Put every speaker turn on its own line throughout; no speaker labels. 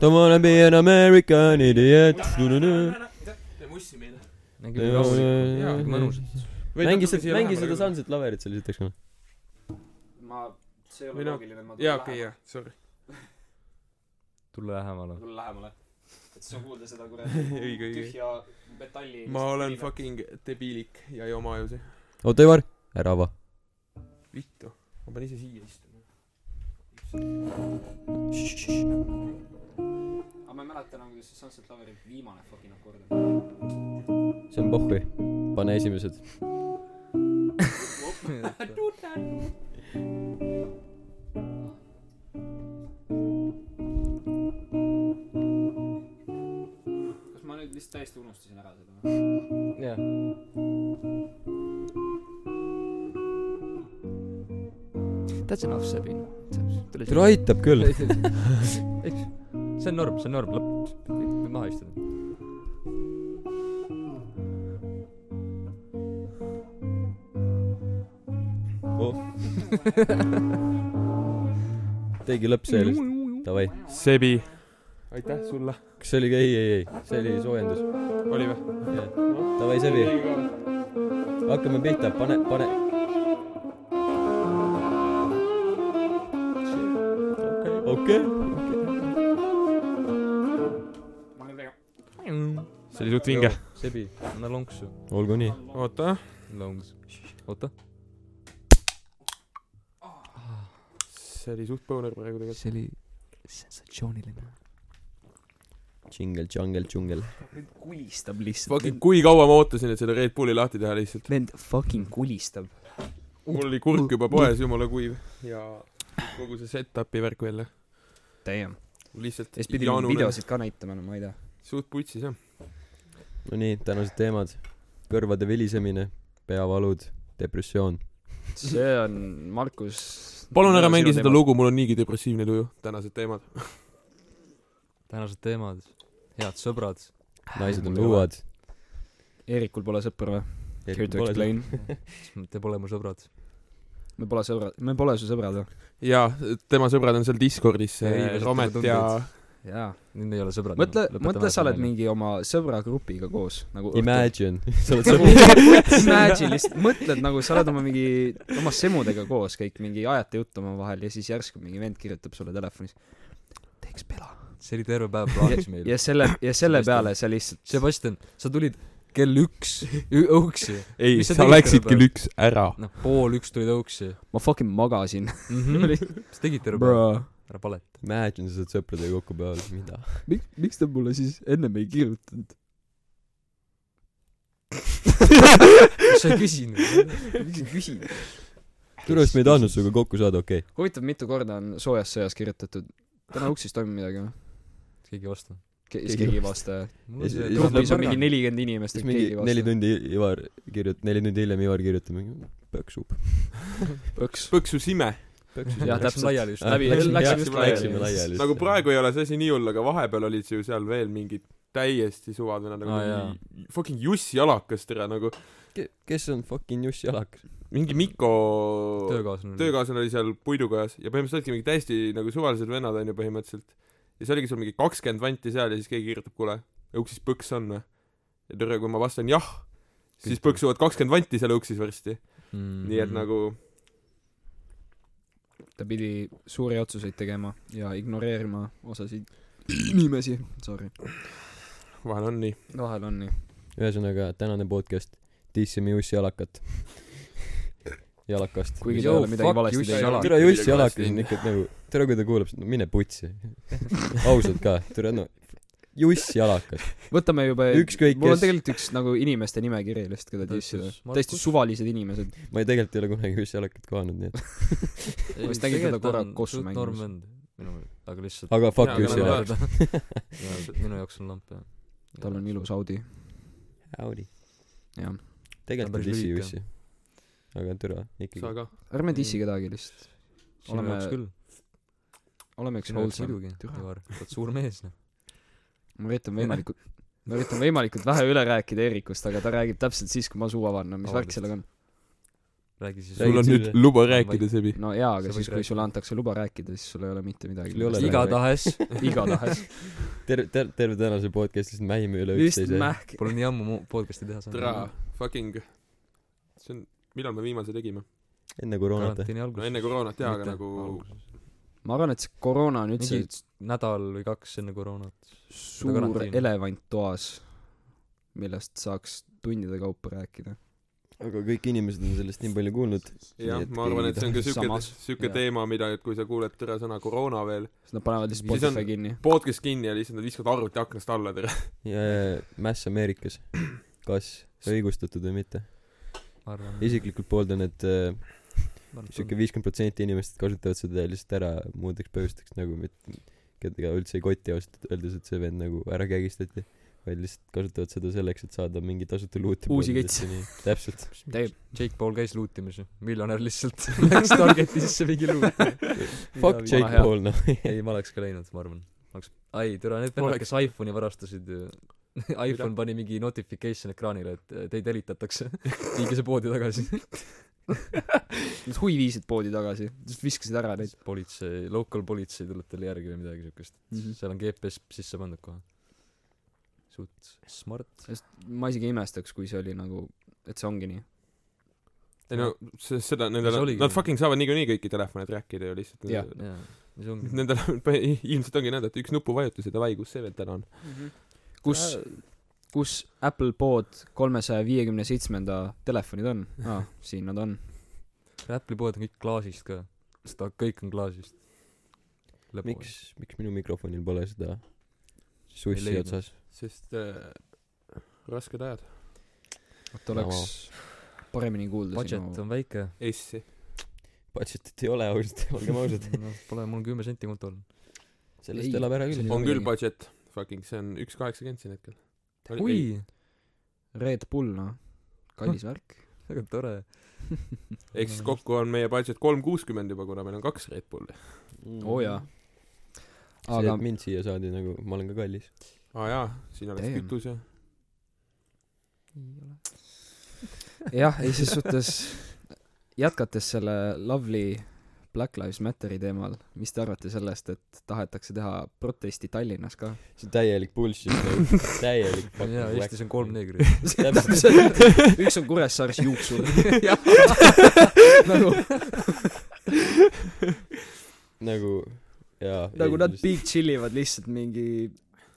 Don't wanna be an American idiot .
teeme ussi meile .
Ei,
nägime rahulikult
jaa,
ja
jaa.
mõnusat .
mängi seda , mängi seda Sunset Laverit seal esiteks noh .
ma , see ei
Või
ole
noh,
loogiline , ma
jaa , okei , jaa , sorry .
tule lähemale .
tulen lähemale . et siis on kuulda seda kuradi
Õige, õige.
tühja metalli
ma olen fucking debiilik ja ei oma ajusi .
oota , Ivar , ära ava .
vittu , ma pean ise siia istuma .
aga ma ei mäleta enam , kuidas see Sunset Laveri viimane fucking noh, akord on .
see on pohhui . pane esimesed .
kas ma nüüd lihtsalt täiesti unustasin ära seda või ?
jah . That's enough , Sabin .
tule aitab küll .
see on norm , see on norm , lõpp . kõik maha istuda .
Oh. tegi lõpp see lihtsalt . Davai .
Sebi . aitäh sulle .
kas see oli ka ei , ei , ei , see oli soojendus .
oli või ?
Davai , Sebi . hakkame pihta , pane , pane . okei .
ma nüüd ei
see oli suht vinge .
Sebi , anna lonksu .
olgu nii .
oota .
lonks . oota .
see oli suht põnev praegu tegelikult .
see oli sensatsiooniline .
Džingel , džungel , džungel .
nüüd kulistab lihtsalt .
Fucking , kui kaua ma ootasin , et selle Red Bulli lahti teha lihtsalt .
vend fucking kulistab .
mul oli kurk juba poes , jumala kuiv . ja kogu see set-up'i värk veel .
Damn .
lihtsalt
ja siis pidi mind . videosid ka näitama , no ma ei tea .
suht putsis jah .
Nonii , tänased teemad . kõrvade vilisemine , peavalud , depressioon .
see on Markus .
palun ära mängi seda . lugu , mul on niigi depressiivne tuju . tänased teemad .
tänased teemad , head sõbrad . Äh,
naised on õuad .
Eerikul pole sõpru või ? Here to explain . Te pole mu sõbrad . me pole sõbrad , me pole su sõbrad või ?
jaa , tema sõbrad on seal Discordis ,
Jaa, jaa,
see
sealt
Romet
mulle
ja
jaa .
nüüd me ei ole sõbrad .
mõtle , mõtle , sa oled . mingi oma sõbragrupiga koos nagu .
Imagine . sa oled sõber .
Imagine lihtsalt , mõtled nagu sa oled oma mingi , oma semudega koos kõik mingi ajate juttu omavahel ja siis järsku mingi vend kirjutab sulle telefonis . teeks pela .
see oli terve päev plaanis meil .
ja selle , ja selle peale sa lihtsalt ,
Sebastian , sa tulid kell üks ü- õuksi ,
ei ,
Mis sa
sa
tegid
läksid
terve
kell üks ära .
noh , pool üks tulid õuksi
ma fucking magasin .
mm . -hmm. mis tegid terve päev ? ära paleta .
Imagine , sa oled sõpradega kokku peal , mida ?
miks , miks ta mulle siis ennem ei kirjutanud ?
sa ei küsinud .
miks ei küsinud ?
tule , kas me ei tahtnud sinuga kokku saada , okei okay. .
huvitav , mitu korda on soojas sõjas kirjutatud . täna uksis toimub midagi või ?
keegi ei vastanud .
siis keegi ei vasta .
Ja siis- ja siis
grupis on mingi nelikümmend inimest ,
siis
et
mingi
keegi ei
neli
vasta .
tundi Ivar kirjut- , neli tundi hiljem Ivar kirjutab mingi pöksub .
põks .
Põksu sime .
jah ,
Läksime
täpselt .
laiali just .
Ah,
Läbi- läksime just laiali.
läksime laiali .
nagu . praegu ei ole see asi nii hull , aga vahepeal olid ju seal veel mingid täiesti suvad vennad , nagu
Aa,
mingi fucking Jussi Alakas , tere , nagu
kes on fucking Jussi Alakas ?
mingi
nagu
Mikko
töökaaslane .
töökaaslane oli seal puidukojas ja põhimõtteliselt olidki mingi täiesti nagu suvalised vennad onju põhimõtteliselt ja see oligi seal mingi kakskümmend vanti seal ja siis keegi kirjutab kuule õuksis põks on vä ja tere kui ma vastan jah siis põksuvad kakskümmend vanti seal õuksis varsti
mm.
nii et . nagu
ta pidi suuri otsuseid tegema ja ignoreerima osasid inimesi , sorry .
vahel on nii
vahel on nii .
ühesõnaga , tänane podcast , dissime Jussi Alakat . Jalakast .
kuigi ta
Yo,
ei ole midagi
fuck
valesti
Jussi
teinud
Alak. .
tere , Jussi
midagi
Alakas
valesti
on ikka nagu , tere , kui ta kuulab seda , no mine putsi . ausalt ka , tere , no Jussi Alakas .
võtame juba
Ükskõik
mul on
kes.
tegelikult üks nagu inimeste nimekiri lihtsalt , keda
Ta
dissida
ütles . Markus.
täiesti suvalised inimesed .
ma ei , tegelikult ei ole kunagi Jussi Alakat kohanud , nii et ,
Ma vist nägin teda korra kossu mängimas.
normend , minu , aga lihtsalt .
aga fuck
Jaa, aga
Jussi
nad-
Alakas .
minu jaoks on lamp jah .
tal on ilus Audi ,
Audi .
jah .
tegelikult
päris
ei dissi
lühike.
Jussi . aga tere ,
sa
ikkagi .
ka
ärme
Ei.
dissi kedagi lihtsalt .
sinu
oleme-
jaoks küll .
oleme üks
sinu jaoks
wholesome .
muidugi ,
Türa.
Ivar , sa oled suur mees noh .
ma üritan võimalikult , ma üritan võimalikult vähe üle rääkida Eerikust , aga ta räägib täpselt siis , kui ma suu avan , no mis värk
Vabandust.
sellega on ?
räägi siis
sul
Räägi
on
Räägid
nüüd
sisse.
luba rääkida , Sebi .
no jaa , aga
Sa
siis ,
võid
kui sulle antakse luba rääkida , siis sul ei ole mitte midagi .
Sul ei ole
igatahes
igatahes .
terve ter- terve tänase podcast'i lihtsalt mähime üle
just
üksteise
mähk .
pole nii ammu mu- podcast'i teha saanud
Tra- , fucking , see on , millal me viimase tegime ?
enne koroonat
karantiini
no
alguses
enne koroonat jaa ,
Mitte
aga nagu
alguses.
ma arvan , et see koroona on üldse
mingi nädal või kaks enne koroonat
suur
karantiin.
elevant toas , millest saaks tundide kaupa rääkida .
aga kõik inimesed on sellest nii palju kuulnud
jah , ma arvan , et see on ka siuke ,
Samas.
siuke
Jaa.
teema , mida , et kui sa kuuled tere sõna koroona veel ,
siis nad panevad lihtsalt
Siis on-
Spotify kinni .
podcast kinni ja lihtsalt nad viskavad arvuti aknast alla , tere .
ja äh, Mass Ameerikas kas õigustatud või mitte
ma arvan
isiklikult pooldan et äh,
ma arvan, et
siuke
on.
viiskümmend protsenti inimestest kasutavad seda lihtsalt ära muudeks põhjusteks nagu mitte kedagi üldse ei koti ausalt öeldes et see vend nagu ära kägistati vaid lihtsalt kasutavad seda selleks et saada mingi tasuta luuti
Uusi
täpselt
teeb .
Jake Paul käis luutimas ju miljonär lihtsalt läks targeti sisse mingi luut
fuck
Jake
Jake Paul noh
ei ma oleks ka läinud ma arvan ma oleks ai türa need vennad kes iPhone'i varastasid ju iPhone pani mingi notification ekraanile et eh, teid helitatakse viige see poodi tagasi
Nad huiviisid poodi tagasi , lihtsalt viskasid ära neid .
siis politsei local politsei tuleb teile järgi või midagi siukest
Mhm.
seal on GPS sisse pandud kohe suht smart
ma isegi ei imestaks , kui see oli nagu , et see ongi nii .
ei no see , seda ,
See
nendel ,
oligi
nad
nii.
fucking saavad niikuinii kõiki telefonid rääkida ju lihtsalt
Jah. .
jaa ja see ongi
Nendel on , ilmselt ongi nõnda , et üks nupuvajutus ja davai , kus see vend täna on .
Mm-hmm. kus , kus Apple Pod kolmesaja viiekümne seitsmenda telefonid on ah, ? siin nad on .
Apple'i poed on kõik klaasist ka seda kõik on klaasist lõpuks
miks miks minu mikrofonil pole seda
Ei
sussi
leidnud.
otsas
sest äh, rasked ajad .
et oleks paremini kuulda
budget
sinu
on väike
Eessi .
budget'it ei ole ausalt olgem ausad
noh pole mul kümme senti kontol
sellest
Ei,
elab ära
see
küll
on
on
midagi.
küll budget , fucking , see on üks kaheksakümmend siin hetkel .
ui
Red Bull , noh . kallis värk .
Mm-hmm.
väga tore
ehk siis kokku on meie budget kolm kuuskümmend juba , kuna meil on kaks Red Bulli .
Oh
oo jaa .
Mm. see
aga
et mind siia saadi nagu ma olen ka kallis
aa jaa , siin oleks
Damn.
kütus ja
jah , ei ses suhtes , jätkates selle lovely Black Lives Matteri teemal , mis te arvate sellest , et tahetakse teha protesti Tallinnas ka ?
see on täielik bullshit nagu täielik fucking
jaa
whack.
Eestis on kolm neegrit
täpselt
üks on Kuressaares juuksur .
nagu jaa
nagu
ei,
nad
just-
big chill ivad lihtsalt mingi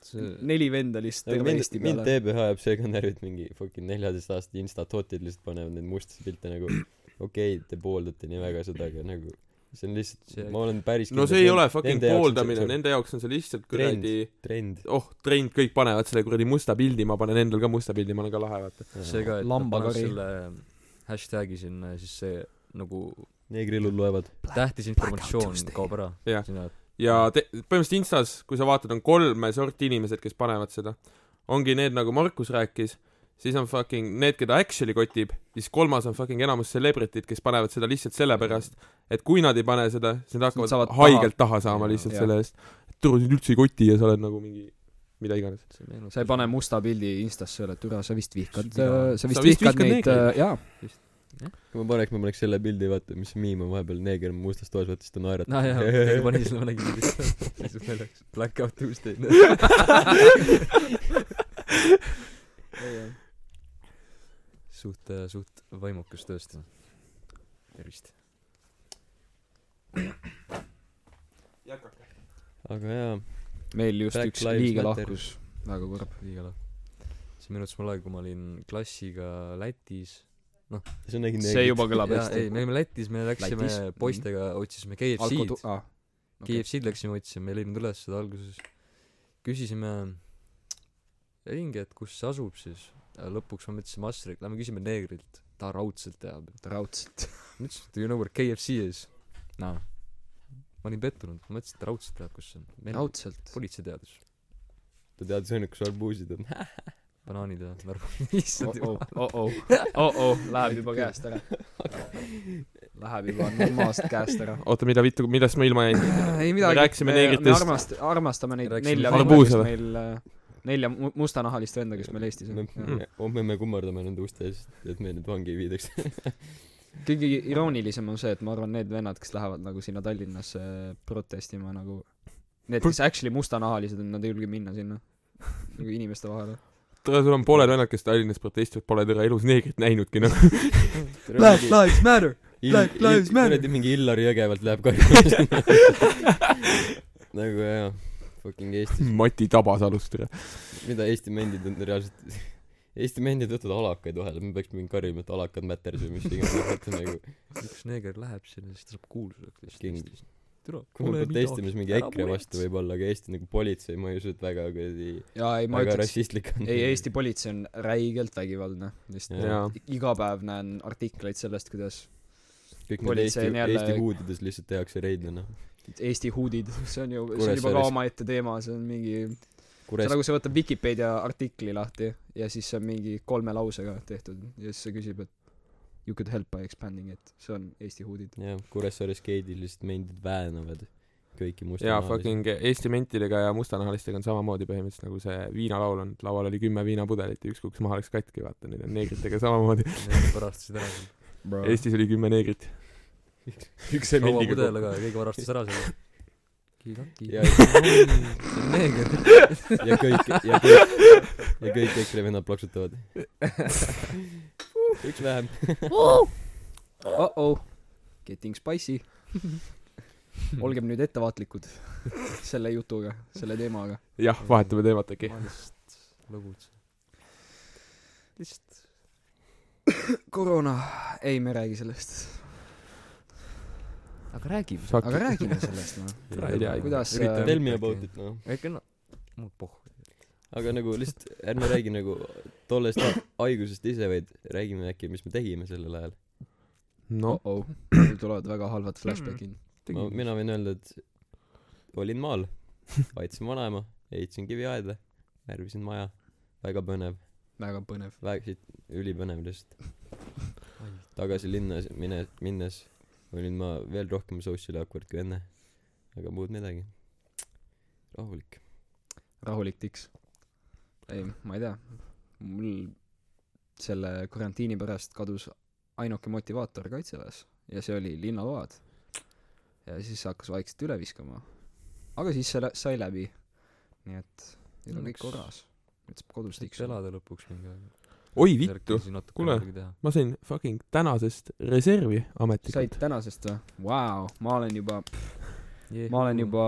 see
neli venda lihtsalt
nagu
terve
mind
Eesti
mind
peale .
teeb ja ajab see ka närvi et mingi fucking neljateistaastased instatotid lihtsalt panevad neid musti pilte nagu okei okay, te pooldate nii väga seda aga nagu see on
See-
lihtsalt ma olen päris
no see ei ole fucking pooldamine , nende jaoks on see lihtsalt
Trend.
kuradi
trend
oh , trend , kõik panevad selle kuradi musta pildi , ma panen endal ka musta pildi , ma olen ka lahe , vaata .
see ka et nad panevad
Lambakari.
selle hashtag'i sinna ja siis see nagu
neegrilud loevad
tähtis informatsioon
Tuesday.
kaob ära
Jah.
sina
ja te- , põhimõtteliselt Instas , kui sa vaatad , on kolme sorti inimesed , kes panevad seda . ongi need , nagu Markus rääkis , siis on fucking need , keda actually kotib , siis kolmas on fucking enamus celebrity'd , kes panevad seda lihtsalt sellepärast , et kui nad ei pane seda , siis nad
Nad saavad
hakkavad haigelt taha saama
Jaa.
lihtsalt
Jah.
selle eest . tule sind üldse ei koti ja sa oled nagu mingi mida iganes .
see nagu- meenutab
sa ei pane musta pildi Instasse üle , et üle sa vist vihkad ,
Sa-
sa
sa vist
vist
vihkad
vihkad
neid ,
neegreid.
jaa .
kui ma paneks ma paneks selle pildi vaata mis miim on vahepeal neeger on mustas toas vaata siis ta naeratab
aa jaa , keegi pani selle , ma nägin lihtsalt , lihtsalt naljakas . Blackout Tuesday . suht , suht vaimukas tõesti . tervist .
aga jaa
meil just
Black
üks
Lives
liige
Matter.
lahkus , väga kurb .
liiga lahe . see meenutas mulle aega , kui ma olin klassiga Lätis .
see on nägi
see
neegrit
juba kõlab
jaa , ei ,
hästi .
me olime Lätis , me läksime
Lätis? Mhm.
poistega , otsisime KFC-d .
aa , okei.
KFC-d läksime , otsisime , ei leidnud üles seda alguses . küsisime ringi , et kus see asub siis . lõpuks ma mõtlesin Masrilt , lähme küsime neegrilt . ta raudselt teab
raudselt .
ma ütlesin , et you know where KFC is . noh . ma olin pettunud , ma mõtlesin , et raudselt teab , kus see on .
raudselt .
politsei teadis .
ta teadis ainult kus arbuusid on
banaanid ja narko- . issand
Oh,
jumal .
oh-oh , oh-oh , Oh, läheb juba käest ära . Läheb juba maast käest ära .
oota , mida vittu , millest ma ilma jäin ?
ei midagi .
rääkisime neegritest.
armast- , armastame neid
Rääkisime
nelja venda , kes
Arbuusele.
meil , nelja mu- mustanahalist venda , kes meil Eestis
me
on .
me- homme me kummardame nende uste ees et meid nüüd vangi ei viidaks
kõige iroonilisem on see , et ma arvan , need vennad , kes lähevad nagu sinna Tallinnasse äh, protestima nagu , need , kes actually mustanahalised on , nad ei julge minna sinna nagu inimeste vahele .
tere , sul on pooled vennad , kes Tallinnas protestivad , pole tere elus neegrit näinudki noh .
Black
Lives Matter Black Lives Matter.
kuradi mingi Illar Jõgevalt läheb karjuma nagu jaa fucking Eestis
Mati Tabasalus , tere .
mida Eesti mendid on reaalselt Eesti mendid võtavad alakaid vahele me peaks mingi karjuma et alakad matters või mis iganes et nagu
üks neeger läheb sinna siis ta saab kuulsuseks lihtsalt
King.
Eestis türa
kui me protestimes mingi EKRE vastu võibolla aga Eesti nagu politsei ma ei usu et väga kuradi
jaa , ei ma
väga
ütleks ,
rassistlik on
ei Eesti politsei on räigelt vägivaldne , lihtsalt
jaa .
iga päev näen artikleid sellest , kuidas
kõik need
politsei
Eesti
on jälle-
Eesti huudides lihtsalt tehakse reide noh
Eesti huudid , see on ju , see on
Kuressaare-
juba ka omaette teema , see on mingi see on
Kures-
nagu sa võtad Vikipeedia artikli lahti ja siis see on mingi kolme lausega tehtud ja siis see küsib , et you could help by expanding it , see on Eesti huudid .
jah Kuressaares geidid lihtsalt mendid väänavad
jaa ,
kõiki mustanahalisi
fucking Eesti mentidega ja mustanahalistega on samamoodi põhimõtteliselt nagu see viinalaul on , et laual oli kümme viinapudelit ja üks kuks maha läks katki , vaata nüüd on neegritega samamoodi .
varastasid ära selle
Eestis oli kümme neegrit . üks
kaua
semendiga
pudelaga ja keegi varastas ära selle kigaki
ja
see on neeger
ja kõik ja kõik ja kõik EKRE vennad plaksutavad üks vähem
Uh-oh , getting spicy . olgem nüüd ettevaatlikud selle jutuga , selle teemaga .
jah , vahetame teemat äkki .
valest lõbud lihtsalt
koroona , ei , me ei räägi sellest .
aga räägime
aga räägime sellest , noh .
Tule ei tea,
kuidas
üritame-
äh,
tell me about it noh
äkki no mul pohh
aga nagu lihtsalt ärme räägi nagu tollest haigusest ise vaid räägime äkki mis me tegime sellel ajal
no
oh-oh , mul tulevad väga halvad flashbackid .
ma mina võin öelda et olin maal aitasin vanaema ehitasin kiviaeda värvisin maja väga põnev
väga põnev .
väga siit ülipõnev lihtsalt tagasi linna mine minnes olin ma veel rohkem socially awkward kui enne aga muud midagi rahulik
rahulik tiks . ei , ma ei tea . mul selle karantiini pärast kadus ainuke motivaator kaitseväes ja see oli linnaload . ja siis see hakkas vaikselt üle viskama . aga siis see lä- sai läbi . nii et nüüd on kõik
Õnneks-
korras . nüüd saab kodus
võiks
tiksuma .
elada lõpuks mingi aeg
oi vittu , kuule.
kuule
ma sain fucking tänasest reservi
said
ametlikult .
tänasest või ? Vau , ma olen juba , ma olen juba ,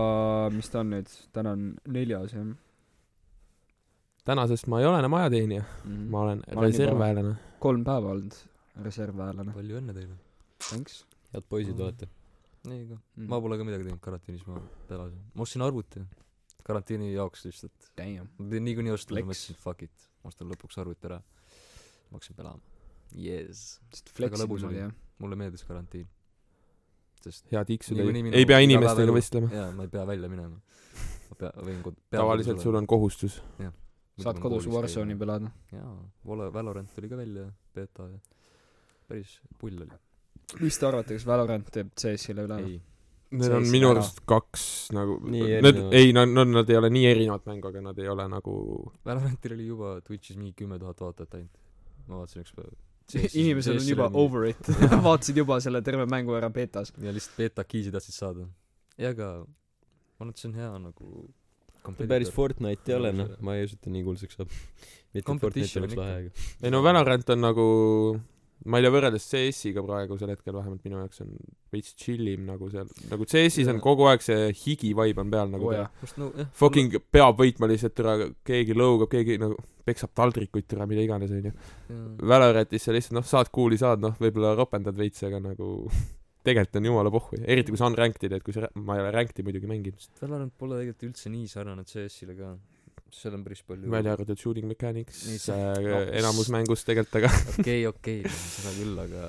mis ta on nüüd , täna on neljas jah
tänasest ma ei ole enam ajateenija ,
mm
ma olen
Ma olen juba-
reservväelane .
kolm päeva olnud reservväelane .
palju õnne teile
thanks
head poisid
Mm.
olete
ei ka
mm.
ma . pole ka midagi teinud karantiinis ma elasin ma ostsin arvuti karantiini jaoks lihtsalt
Damn .
ma pidin niikuinii ostma
Flex.
ma mõtlesin fuck it ma ostan lõpuks arvuti ära ma hakkasin pelama yes
sest
Väga
flex'id
lõbus
mul
oli.
jah .
mulle meeldis karantiin sest
hea tiksuda
Niikuinii , minu-
ei pea
iga päev
inimestega
elu.
vestlema .
jaa ma ei pea välja minema ma pea võin kod- pean
tavaliselt sul on kohustus .
saad kodus Warzone'i pelada .
jaa Valo- Valorant tuli ka välja beeta ja päris pull oli
mis te arvate , kas Valorant teeb CS-ile üle või ?
ei
Need
See
on
siis
minu
ära.
arust kaks nagu ,
Nii
need
erinevad. ,
ei , nad , nad , nad ei ole nii erinevad mängu , aga nad ei ole nagu
Valorantil oli juba Twitch'is mingi kümme tuhat vaatajat ainult ma vaatasin ükspäev
inimesed on juba over it , vaatasid juba selle terve mängu ära betas .
ja lihtsalt beeta kiisi tahtsid saada ja aga ma arvan et see on hea nagu
see päris
competitor.
Fortnite ei ole noh ma ei usu et ta nii kuulsaks saab mitte et Fortnite
Competition
oleks
on
lahe
ikka.
aga
ei no Valorant on nagu ma ei tea , võrreldes CS-iga praegusel hetkel vähemalt minu jaoks on veits chill im nagu seal , nagu CS-is on
Jaa.
kogu aeg see higi vibe on peal nagu
oo
oh,
jah ,
just no jah
fucking peab võitma lihtsalt ära , keegi lõugab , keegi nagu peksab taldrikuid ära , mida iganes onju .
mul-
Valorantis sa lihtsalt noh , saad kuuli , saad noh , võib-olla ropendad veits , aga nagu tegelikult on jumala pohhu , eriti kui sa unranked'i teed , kui sa , ma ei ole ranked'i muidugi mänginud ,
jaa. Valorant pole tegelikult üldse nii sarnane CS-ile ka seal on päris palju
välja arvatud shooting mechanics
Nii see- noh.
äh,
no.
enamus mängus tegelikult , aga
okei okei seda küll aga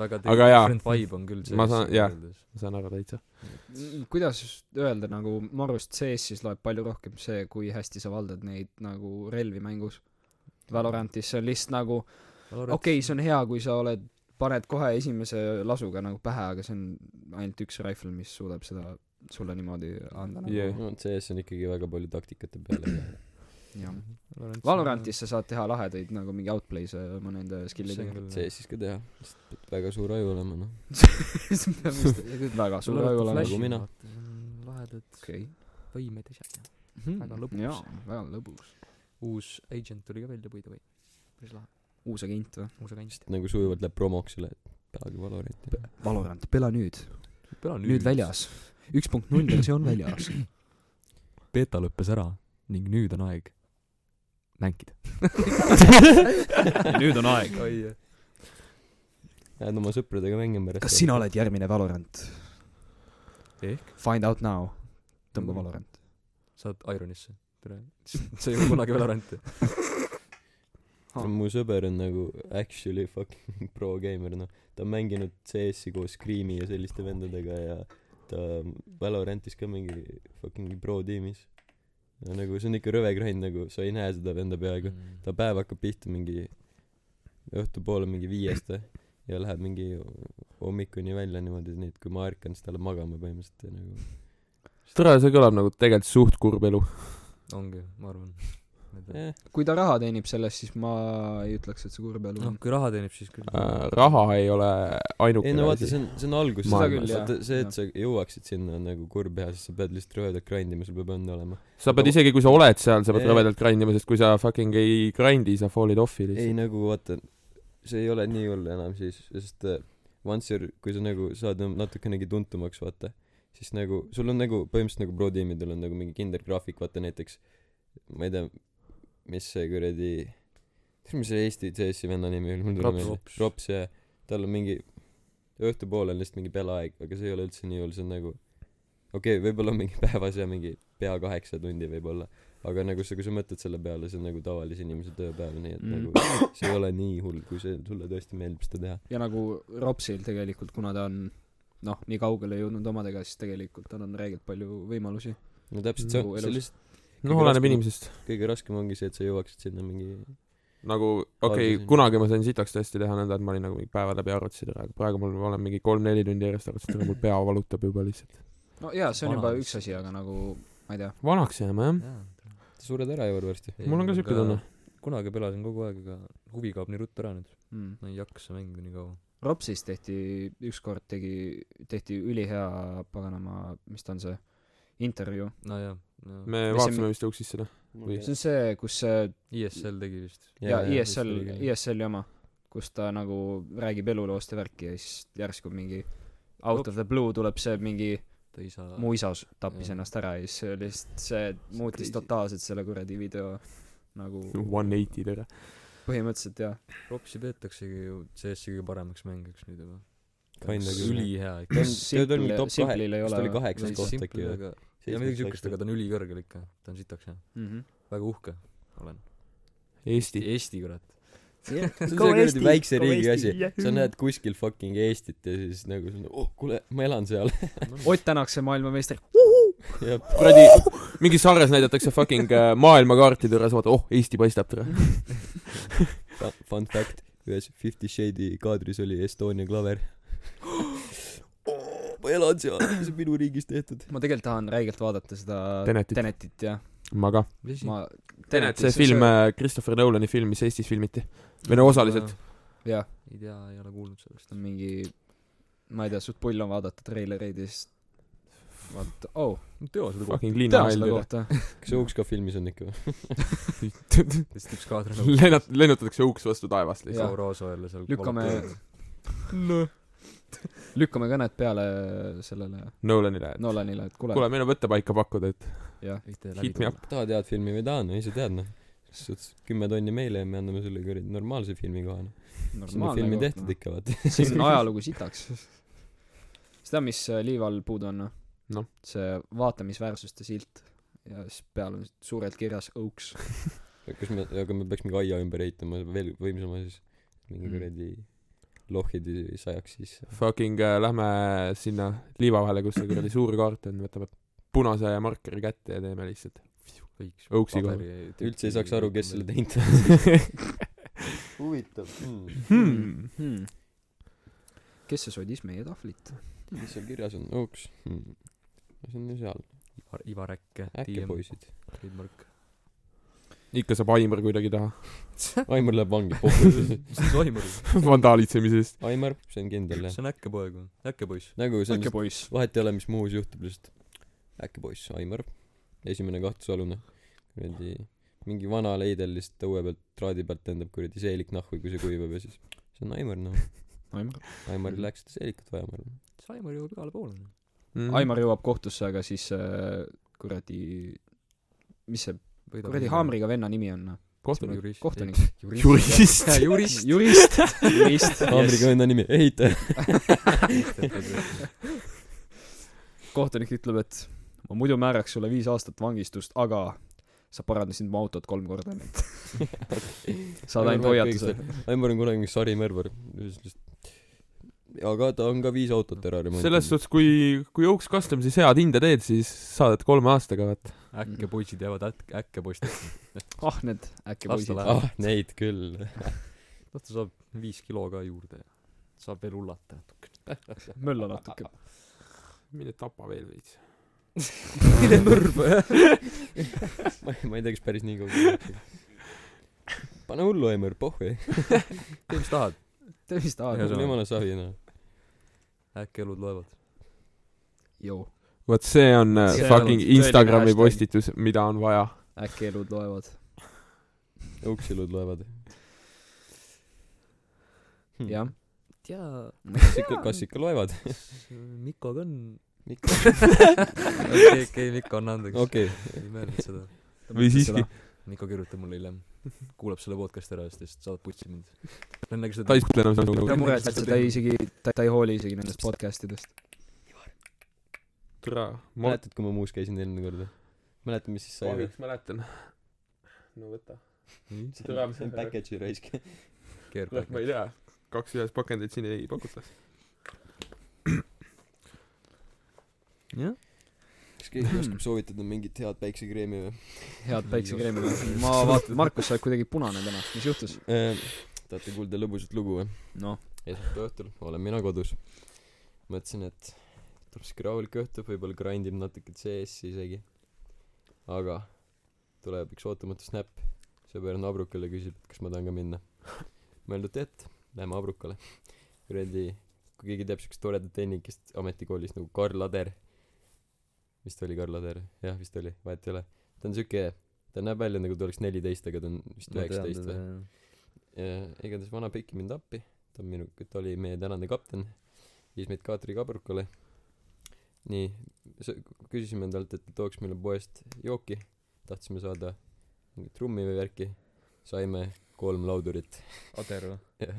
väga
Aga jaa.
different vibe on küll
Ma
CS-iga
saan- jah.
võrreldes.
ma saan aru täitsa .
Mm, kuidas öelda nagu , ma arvan , et CS-is loeb palju rohkem see , kui hästi sa valdad neid nagu relvi mängus . Valorantis see on lihtsalt nagu ,
Valorant-
okei okay, , see on hea , kui sa oled , paned kohe esimese lasuga nagu pähe , aga see on ainult üks rifle , mis suudab seda sulle niimoodi anda nagu
Jah.
no CS on ikkagi väga palju taktikate peale ja
jah . Valorantisse saad teha lahedaid nagu mingi outplay'se mõne enda skill'iga .
see siis ka teha lihtsalt pead väga suur aju olema noh
väga suur nagu- aju olema .
Flash. mina.
lahedad
okei .
võimed asjad ja Väga lõbus.
Mhm. jaa , väga lõbus .
uus agent tuli ka välja by the way päris lahe
uus agent või ?
uus agent
nagu sujuvalt läheb promoks üle et peagi Valoranti
Valorant , pela nüüd .
pela
nüüd väljas . üks punkt null versioon väljas .
beeta lõppes ära ning nüüd on aeg mängida
Nüüd on aeg.
oi jah
lähed oma sõpradega mängima pärast
kas sina oled järgmine Valorant ? Find out now . tõmba Valorant .
saad Ironisse tere sa ei ole kunagi Valoranti
No mu sõber on nagu actually fucking pro gamer noh ta on mänginud CS-i koos Scream'i ja selliste vendadega ja ta Valorantis ka mingi fucking pro tiimis ja nagu see on ikka rõve grind nagu sa ei näe seda venda peaaegu ta päev hakkab pihta mingi õhtupoole mingi viiest vä ja läheb mingi hommikuni välja niimoodi nii et kui ma ärkan siis ta läheb magama põhimõtteliselt ja nagu
tere , see kõlab nagu tegelikult suht kurb elu .
ongi ma arvan Ma ei tea.
eh,
kui ta raha teenib sellest , siis ma ei ütleks , et see kurb elu
noh
on .
kui raha teenib siis küll
Äh, raha ei ole
ei no
ainukene
vaata see on see on algus
Seda
seda
küll,
küll
jah.
jah see et sa jõuaksid sinna on nagu kurb jah sest sa pead lihtsalt rõvedalt grindima sul peab õnne olema
sa pead isegi , kui sa oled seal , sa pead
Jaa.
rõvedalt grindima , sest kui sa fucking ei grindi , sa fall'id off'i
ei
lihtsalt .
nagu vaata see ei ole nii hull enam siis sest äh, once you're kui sa nagu saad nagu natukenegi tuntumaks vaata siis nagu sul on nagu põhimõtteliselt nagu pro tiimidel on nagu mingi kindel graafik vaata näiteks ma ei tea mis see kuradi tead mis see Eesti CS-i venna nimi oli mul tuleb
Rops.
meelde Rops jah tal on mingi õhtupoole on lihtsalt mingi pelaaeg aga see ei ole üldse nii hull see on nagu okei okay, võibolla mingi päevas ja mingi pea kaheksa tundi võibolla aga nagu sa kui sa mõtled selle peale see on nagu tavalise inimese tööpäev nii et
Mm.
mm. nagu see ei ole nii hull kui see sulle tõesti meeldib seda teha
ja nagu Ropsil tegelikult , kuna ta on noh , nii kaugele jõudnud omadega , siis tegelikult tal on räigelt palju võimalusi .
no täpselt see on
Nagu
see
elus.
lihtsalt
noh , oleneb inimesest .
kõige raskem ongi see et sa jõuaksid sinna mingi
nagu okei okay,
Alguses- ,
kunagi ma sain sitaks tõesti teha nõnda , et ma olin nagu mingi päeva läbi arvutasin ära , aga praegu mul ma olen mingi kolm-neli tundi järjest arvutasin , mul pea valutab juba lihtsalt .
no jaa , see on juba
Vanaduses.
üks asi , aga nagu ma ei tea ,
vanaks jääme jah .
Jaa.
sa sured ära Ivar varsti
Ei,
Mul on ka siuke tunne.
kunagi pelasin kogu aeg aga huvi kaob nii ruttu ära nüüd
mm. .
ma ei jaksa mängida nii kaua
Ropsis tehti , ükskord tegi , tehti ülihea paganama , mis ta on see , intervjuu .
nojah no,
me
Mis see-
vaatasime vist uksis seda .
see on see , kus see
ISL E tegi vist
ja, ja ISL , ISL-i oma , kus ta nagu räägib eluloost ja värki ja siis järsku mingi out of the blue tuleb see mingi
ta isa
Ah.
mu isa s- tappis
Jah.
ennast ära ja siis see oli lihtsalt see muutis
crazy.
totaalselt selle kuradi video nagu
One eighty tere .
põhimõtteliselt jah
Ropsi peetaksegi ju CS-i kõige paremeks mängijaks nüüd juba
Kinda küll.
ülihea ikka
ta on
Simple-
ta oli mingi top kahe
Simple'il ei
kas
ole
ta oli
või?
Ta
kaheksas
oli
koht äkki
simple,
või
aga ja midagi siukest aga ta on ülikõrgel ikka ta on sitaks jah
mm -hmm.
väga uhke olen
Eesti .
Eesti kurat
see on see kuradi väikse riigi asi sa näed kuskil fucking Eestit ja siis nagu sa oh kuule ma elan seal
Ott Tänak see maailmameister
ja
kuradi , mingis sarjas näidatakse fucking äh, maailmakaarti tõras , vaata , oh , Eesti paistab tõra .
fun, fun fact ühes Fifty Shady kaadris oli Estonia klaver oh, ma elan seal see on minu riigis tehtud
ma tegelikult tahan räigelt vaadata seda
Tenetit.
Tenetit jah
ma ka .
mis asi
ma
see film ,
äh,
Christopher Nolani film , mis Eestis filmiti . või no osaliselt .
jah
ei tea ei ole kuulnud sellest
ta on mingi ma ei tea suht pull on vaadata treilereid ja siis vaata oh
tea seda kohta
Fucking
tean selle
linnahall .
kohta
kas see Uks ka filmis on ikka vä
lihtsalt üks kaader on
lennat- , lennutatakse uks vastu taevast
Jah.
lihtsalt .
Kauraaso jälle seal
Lükkame-
valetab.
lükkame kõned peale sellele
Nolanile , et
Nolanile et kuule
kuule , meil on võttepaika pakkuda , et
jah
Võite läbi
hit me up .
tahad head filmi või ei taha no ise tead noh selles suhtes kümme tonni meile ja me anname sulle kuradi normaalse filmi kohe noh siis on filmi
koht,
tehtud
noh.
ikka vaata
siis on ajalugu sitaks seda mis äh, liiva all puudu on noh
Noh.
see vaatamisväärsuste silt ja siis peal on suurelt kirjas Oaks
kas me aga me peaks mingi aia ümber ehitama veel võimsama siis mingi
Mm.
kuradi lohid ei sajaks sisse
Fucking äh, lähme sinna liiva vahele , kus see kuradi suur kaart on , võtame punase markeri kätte ja teeme lihtsalt .
võiks
Oaksi kohal.
paberi-
üldse ei saaks aru kes selle teinud on huvitav hmm.
Hmm.
hmm. kes see sodis meie tahvlit
mis seal kirjas on Uks hmm. see on ju seal
Ivar- Ivar Äkke
äkki
DM
poisid
trademark
ikka saab Aimar kuidagi taha
Aimar läheb vangi pohhu
toimub
vandaalitsemise eest
Aimar see on kindel jah
see on äkke poeg äkke poiss
nagu see on
äkki
lihtsalt
poiss .
vahet ei ole mis muus juhtub lihtsalt äkki poiss Aimar esimene kahtlusalune kuradi mingi vana leidel lihtsalt õue pealt traadi pealt lendab kuradi seelik nahku kui see kuivab ja siis see on Aimar noh
Aimar
Aimaril läks seda seelikut vaja ma arvan
Saimar jõuab igale poole
mm.
Aimar jõuab kohtusse , aga siis äh, kuradi , mis see
Võidab
kuradi
mingi-
haamriga venna nimi on ?
kohtunik
jurist
kohtunik .
jurist
jurist
jurist , jurist ,
haamriga enda nimi ehitaja
kohtunik ütleb , et ma muidu määraks sulle viis aastat vangistust , aga sa parandasid mu autot kolm korda . saad ainult hoiatuse .
Aimar on kunagi mingi sarimõrvar lihtsalt aga ta on ka viis autot ära remontinud
selles suhtes kui kui Oaks Customsis head hinda teed siis saadad kolme aastaga vaata
äkke poisid jäävad äk- äkke poistesse
ah need
Las
äkki
ta
poisid
läheb. .
ah neid küll
noh ta saab viis kilo ka juurde ja saab veel hullata
mölla natuke .
mine tapa veel veits
mine mõrva jah
ma ei ma ei tea kas päris nii kaugele läks pane hullu Aimar pohhu
tee mis tahad
tee vist
mul
Ja see on-
aega .
jumala savi noh
äkki elud loevad
joo ,
vot see on äh,
See on
fucking
tõeline
Instagrami
hashtag.
postitus mida on vaja
äkki elud loevad .
uksilud loevad Hmm.
jah ,
jaa
kas ikka kas ikka loevad
Mikko ka on
Mikko.
okei okei Mikko anna andeks
okei
ei mõelnud seda
või siiski
Mikko kirjutab mulle hiljem kuulab selle podcast'i ära ja siis ta saadab putsi mind ta on nagu
ta
seda
ei suhtle enam sinuga
ta muretseb , ta ei isegi , ta , ta ei hooli isegi nendest podcast idest .
tere ma
mäletad kui ma muus käisin eelmine kord või mäletad mis siis sai või
kahjuks mäletan no võta
nii
see on- see on package'i raisk
keerab
noh ma ei tea kaks ühes pakendit siin ei pakuta
jah
kas keegi oskab soovitada mingit head päiksekreemi või
head päiksekreemi . ma vaatan , Markus , sa oled kuidagi punane täna , mis juhtus ?
Ehm, tahate kuulda lõbusat lugu või
noh ,
esmaspäeva õhtul olen mina kodus mõtlesin et tuleb siuke rahulik õhtu võibolla grindib natuke CS-i isegi aga tuleb üks ootamatu snap sõber on Abrukal ja küsib et kas ma tahan ka minna mõeldud et lähme Abrukale kuradi kui keegi teab siukest toredat tehnikist ametikoolist nagu Karl Lader vist oli Karl Lader jah vist oli vahet ei ole ta on siuke ta näeb välja nagu ta oleks neliteist aga ta on vist üheksateist või ja igatahes vana peki mind appi ta on minu ta oli meie tänane kapten viis meid Katri kabrukale nii s- küsisime talt et ta tooks meile poest jooki tahtsime saada mingit rummi või värki saime kolm laudurit
Ader või
Jah.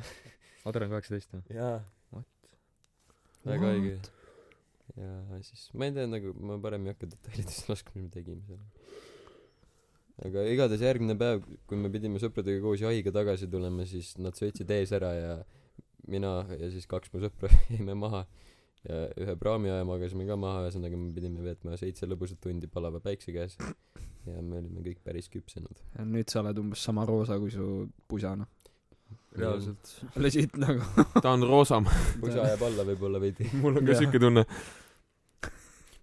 Ader on kaheksateist või
jaa väga õige ja siis ma ei tea nagu ma parem ei hakka detailidesse laskma mis me tegime seal aga igatahes järgmine päev kui me pidime sõpradega koos jahiga tagasi tulema siis nad sõitsid ees ära ja mina ja siis kaks mu sõpra jäime maha ja ühe praamiaja magasime ka maha ühesõnaga me pidime veetma seitse lõbusat tundi palava päikse käes ja me olime kõik päris küpsenud
nüüd sa oled umbes sama roosa kui su pusa , noh .
reaalselt
legit nagu .
ta on roosam
pusa jääb alla võibolla veidi
mul on ka
Jah.
siuke tunne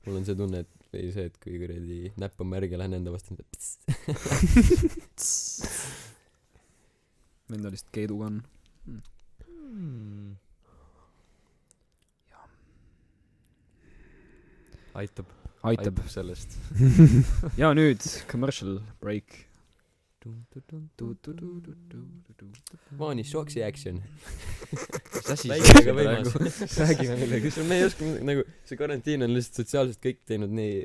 mul on see tunne et või see et kui kuradi näpp on märg ja lähen enda vastu et pss
Vendel vist keedukann .
Mm. aitab
aitab .
sellest
ja nüüd commercial break .
Vaanis sooksi action
mis asi see
väikesega
oli
nagu.
praegu
võimas räägime millegist me ei oska midagi- nagu see karantiin on lihtsalt sotsiaalselt kõik teinud nii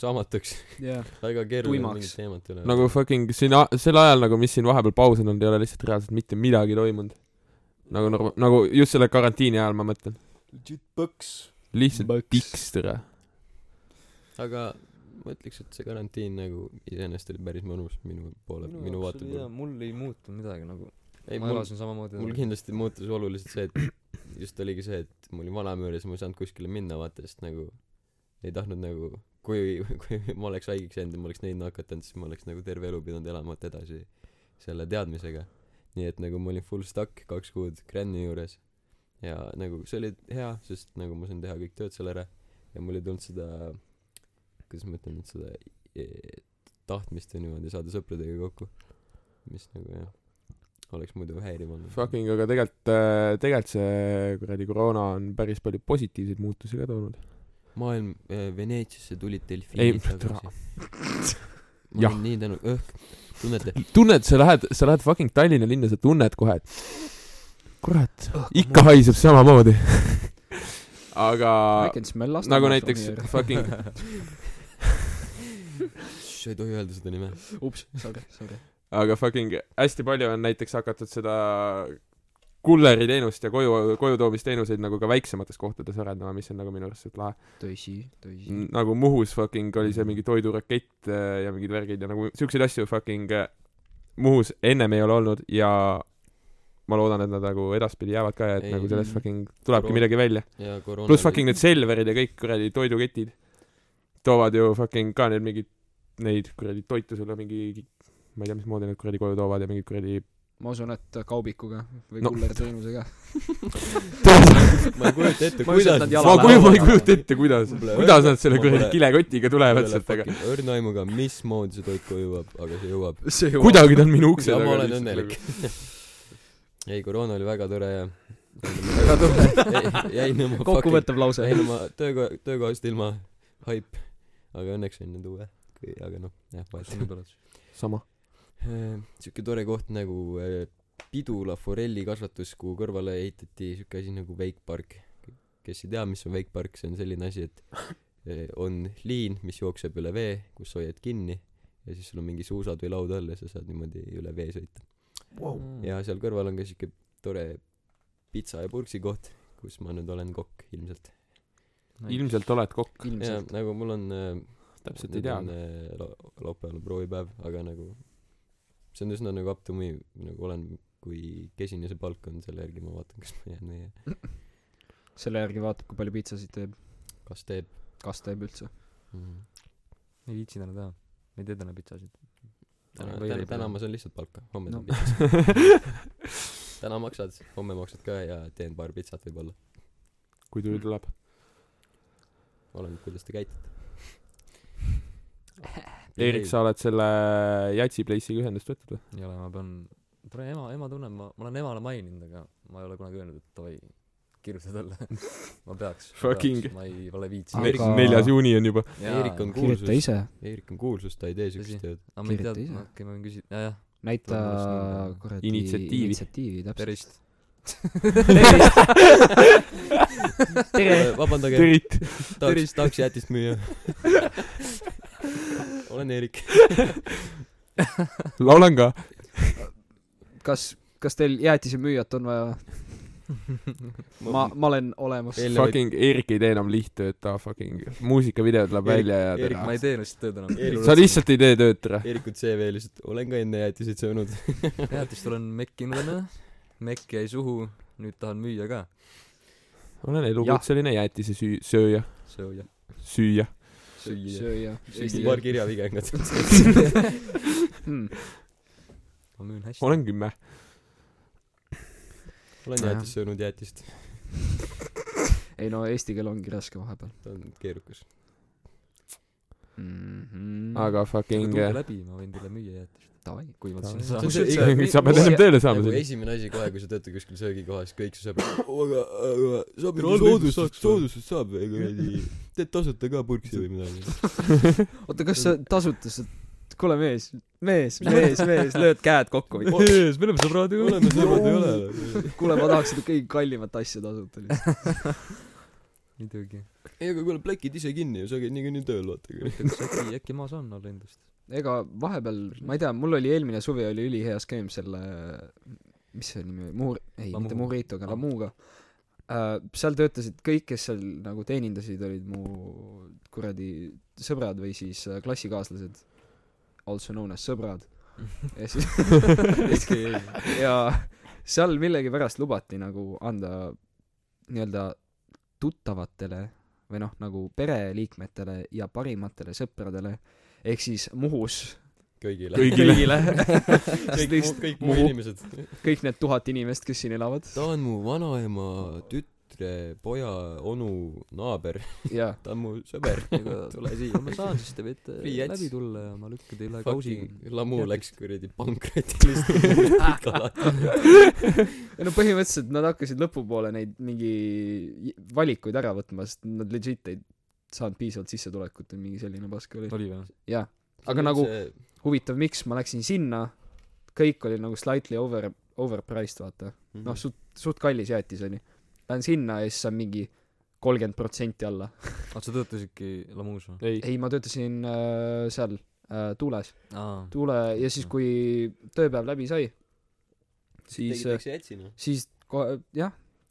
saamatuks
jah ,
väga keeruline on
Tuimaks.
mingit teemat üle
nagu fucking siin a- sel ajal nagu mis siin vahepeal paus on olnud ei ole lihtsalt reaalselt mitte midagi toimunud nagu norm- nagu just selle karantiini ajal ma mõtlen
legit põks
lihtsalt
Bugs.
tiks tere
aga ma ütleks et see karantiin nagu iseenesest oli päris mõnus minu poole minu, minu vaate poole
mul ei muutunud midagi nagu
ei
ma
mul
elasin samamoodi nagu
mul kindlasti muutus oluliselt see et just oligi see et ma olin Vanamüüri siis ma ei saanud kuskile minna vaata sest nagu ei tahtnud nagu kui kui ma oleks haigeks jäänud ja ma oleks neid nakatanud siis ma oleks nagu terve elu pidanud elama et edasi selle teadmisega nii et nagu ma olin full stuck kaks kuud Granny juures ja nagu see oli hea sest nagu ma sain teha kõik tööd seal ära ja mul ei tulnud seda kuidas ma ütlen nüüd seda eh, tahtmist ja niimoodi saada sõpradega kokku mis nagu jah oleks muidu häiriv olnud
Fucking , aga tegelikult , tegelikult see kuradi koroona on päris palju positiivseid muutusi ka toonud .
maailm äh, Veneetsiasse tulid
Ei,
delfiinid
türa.
tagasi ma
Jah.
olen nii tänu- õhk tunnete
tunned , sa lähed , sa lähed fucking Tallinna linna , sa tunned kohe , et kurat , ikka haiseb samamoodi . aga
I can smell last
nagu näiteks fucking ,
Shh, sa ei tohi öelda seda nime
ups , sorry , sorry .
aga fucking hästi palju on näiteks hakatud seda kulleriteenust ja koju , koju toomisteenuseid nagu ka väiksemates kohtades arendama , mis on nagu minu arust suht lahe .
tõsi , tõsi .
nagu Muhus fucking oli
Mhm.
see mingi toidurakett äh, ja mingid värgid ja nagu siukseid asju fucking äh, Muhus ennem ei ole olnud ja ma loodan , et nad nagu edaspidi jäävad ka ja et
Ei,
ei, nagu sellest
mm.
fucking tulebki
Proov-
midagi välja .
ja koroona
pluss fucking need Selverid ja kõik kuradi toiduketid toovad ju fucking ka need mingid , neid kuradi toitu sulle mingi , ma ei tea , mismoodi nad kuradi koju toovad ja mingid kuradi
ma usun , et kaubikuga või
No.
no. kullerteenusega .
ma ei kujuta ette
Ma ei usu,
kuidas
et nad
ma kuju- ma
jalapäeva
ei
jagavad.
kujuta ette , kuidas ,
Mulle
kuidas
öeldakse,
nad selle
ma
kuradi
pole-
kilekotiga tulevad sealt , aga
õrna aimuga mismoodi see toit koju jõuab aga see jõuab
see nagu ju .
kuidagi ta on minu ukse
Ja
taga
ma olen
lihtsalt
õnnelik. ei koroona oli väga tore ja
väga tore .
jäi- jäin oma fucking
kokkuvõttev lause .
jäin oma töökoha töökohast ilma haip aga õnneks on nüüd uue kui- aga noh jah vahet ei ole
võib-olla .
nagu- sama .
Eh, sihuke tore koht nagu eh, Pidula forellikasvatus , kuhu kõrvale ehitati sihuke asi nagu veikpark . kes ei tea , mis on veikpark , see on selline asi , et eh, on liin , mis jookseb üle vee , kus hoiad kinni ja siis sul on mingi suusad või laud all ja sa saad niimoodi üle vee sõita .
Mm.
ja seal kõrval on ka sihuke tore pitsa ja purksi koht , kus ma nüüd olen kokk ilmselt .
ilmselt oled kokk .
ja
ilmselt .
nagu mul on eh,
täpselt ei
nüüd
tea .
on äh, lo- laupäeval on proovipäev aga nagu see on üsna nagu up to me nagu olen kui kesine see palk on selle järgi ma vaatan kas ma jään või
selle järgi vaatab , kui palju piitsasid teeb ,
kas teeb
kas teeb üldse .
mm.
ei viitsi täna teha . ma ei tee täna pitsasid .
täna täna täna ma saan lihtsalt palka homme
No.
no. saan pitsat täna maksad homme maksad ka ja teen paar pitsat võibolla
kui tuli tuleb .
oleneb kuidas te käitute
Erik , sa oled selle Jatsi Place'iga ühendust võtnud või ?
ei ole , ma pean , tore ema , ema tunneb , ma , ma olen emale maininud , aga ma ei ole kunagi öelnud , et davai , kirjuta talle . ma peaks .
Fucking-
ma ei ole
Aga-
viitsinud .
Erik , neljas juuni on juba .
Eerik on kuulsus
kirjuta ise ,
Eerik on kuulsus ta ei tee siukest
Tõsi.
tööd
aga ma ei
kirjuta
tea ,
ise.
okei , ma võin küsida , jajah ,
näita
Tõenäoliselt nii,
kuradi
Initsiatiivi.
initsiatiivi , täpselt .
tervist .
Äh, vabandage
Terit ,
tahaks tahaks jäätist müüa olen Eerik
laulan ka .
kas , kas teil jäätisemüüjat on vaja ? ma , ma olen olemas .
Eile võid-
Fucking Erik ei tee enam lihttööd , ta fucking muusikavideo tuleb
Erik-
välja ja
Erik,
tere
ma . ei tee lihtsalt tööd
Erik-
enam .
sa lihtsalt ei tee tööd , tere .
Eeriku CV lihtsalt olen ka enne jäätiseid söönud
jäätist olen mekki inimene , mekk jäi suhu , nüüd tahan müüa ka .
olen elukutseline jäätise süü- , sööja ,
sööja .
süüa .
süüa .
sööja .
Eesti paar kirjavigengat
Hmm.
ma müün hästi .
olen kümme .
olen
Jah.
jäätist söönud jäätist
ei no eesti keel ongi raske vahepeal
ta on keerukas
mm . -hmm.
aga fucking eh,
tulge läbi , ma võin teile müüa jäätist ,
davai .
kui ma
Davai.
sinna
See on
saan .
see-
sa pead ennem tööle saama
nagu
selle .
esimene asi kohe kui sa töötad kuskil söögikohas kõik su sõbrad "Oo, aga aga saab
Tere,
mingi
Aldo,
soodustust
saaks või?"
soodustust saab või kuradi teed tasuta ka purksi või midagi
oota , kas sa tasuta sa , kuule mees , mees , mees , mees , lööd käed kokku või ?
me oleme sõbrad ju .
oleme sõbrad ei ole või
kuule , ma tahaks seda kõige kallimat asja tasuta lihtsalt .
muidugi .
ei aga kuule plekid ise kinni ju sa käid niikuinii tööl vaata kuradi
äkki , äkki ma saan olla endast .
ega vahepeal , ma ei tea , mul oli eelmine suvi oli ülihea skeem selle , mis see nimi oli , Mur- , ei ,
Lamu.
mitte Murrito , aga Lamuga . seal töötasid kõik , kes seal nagu teenindasid , olid mu kuradi sõbrad või siis äh, klassikaaslased , also known as sõbrad . ja siis , ja seal millegipärast lubati nagu anda nii-öelda tuttavatele või noh , nagu pereliikmetele ja parimatele sõpradele , ehk siis Muhus
kõigile
Kõik- Kõigile.
kõigile
kõik mu- kõik mu
Muhu.
inimesed
kõik need tuhat inimest , kes siin elavad .
ta on mu vanaema tüt- tütre poja onu naaber ,
jaa ,
ta on mu sõber , tule siia .
ma saan siis teile ette
Free jets.
läbi tulla ja ma lükkan teile kausi
Fucking Lamu läks kuradi pankrotilist .
ei no põhimõtteliselt nad hakkasid lõpupoole neid mingi j- valikuid ära võtma , sest nad legit ei saanud piisavalt sissetulekut või mingi selline pask oli .
oli vä
jah , aga nagu huvitav , miks ma läksin sinna , kõik oli nagu slightly over , overpriced , vaata .
Mhm.
noh , suht , suht kallis jäätis oli . Lähen sinna ja siis saan mingi kolmkümmend protsenti alla .
oota Ah, sa töötasidki Lamuus vä
ei ,
ei , ma töötasin äh, seal äh, Tuules ,
aa
Tuule ja siis , kui tööpäev läbi sai , siis , äh,
tegid , eks jätsina ?
siis kohe , jah ,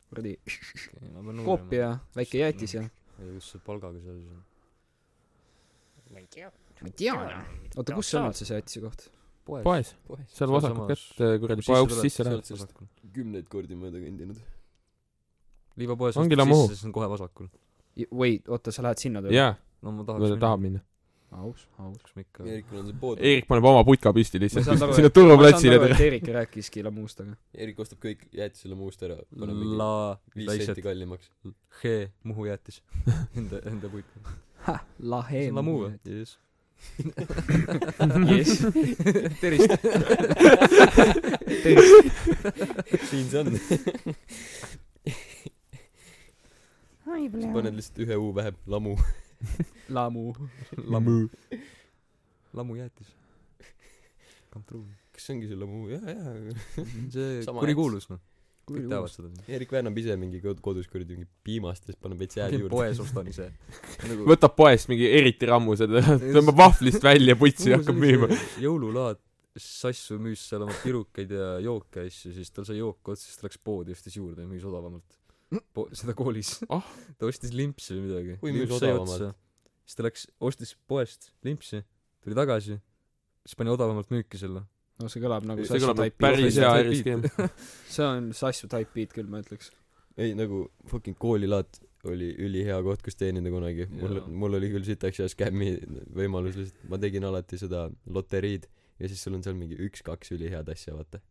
kuradi
okei ma pean
koop ja väike jäätis ja
ma ei tea kus see palgaga seal siis on
ma ei tea noh . oota , kus on üldse see jäätise koht ?
poes
poes , seal vasakul
Sealsamas.
kätt äh, kuradi poe uksest
Sisse
sisse
tuled,
lähed .
sealt sellest- kümneid kordi mööda kõndinud .
liivapoes
Ongi
astud
Lamu.
sisse siis on kohe vasakul
Wait , oota , sa lähed sinna tööle ?
jaa ,
no ma
ta
tahaks
tahab minna .
aus , aus .
tahaks ma ikka
Eerikul on see pood ,
Eerik paneb oma putka püsti
ma ei
lihtsalt
saanud
sinna
aru , ma ei saanud
turvaplatsile
aru ,
tere .
et Eerik rääkiski Lamust , aga
Eerik ostab kõik jäätisele muust ära , paneb mingi
la
viis
lihtsalt
senti kallimaks .
he Muhu jäätis enda enda puit
ha, lahe
see on Lamu vä jess
jess , tervist .
siin see on . siis paned lihtsalt ühe U vähem , lamu .
Lamu .
Lamu Lamu jäätis kampruun
kas see ongi see lamu ? jaa , jaa .
see
Sama
kurikuulus noh kõik
Kurikuulus.
teavad seda
Eerik väänab ise mingi kod- kodus kuradi mingi piimast ja siis paneb veits hääli
käin
juurde .
poes ostan ise nagu
võtab poest mingi eriti rammu seda , tõmbab vahvlist välja putsi ja hakkab müüma .
jõululaad Sassu müüs seal oma pirukaid ja jooke ja asju siis tal sai jook otsa siis ta läks poodi ostis juurde ja müüs odavamalt po- seda koolis
Ah.
ta ostis limpsi või midagi
Kui müüs
Limps sai
odavamalt?
otsa. siis ta läks ostis poest limpsi tuli tagasi siis pani odavamalt müüki selle
no see kõlab nagu
see
Sassu
kõlab nagu
Type
päris
Beat .
hea
Type
äriskeem .
see on Sassu Type Beat küll , ma ütleks .
ei nagu fucking koolilaat oli ülihea koht , kus teenida kunagi . mul
Jaa. ,
mul oli küll sitaks ja skämmi võimalus lihtsalt , ma tegin alati seda loteriid ja siis sul on seal mingi üks-kaks ülihead asja , vaata .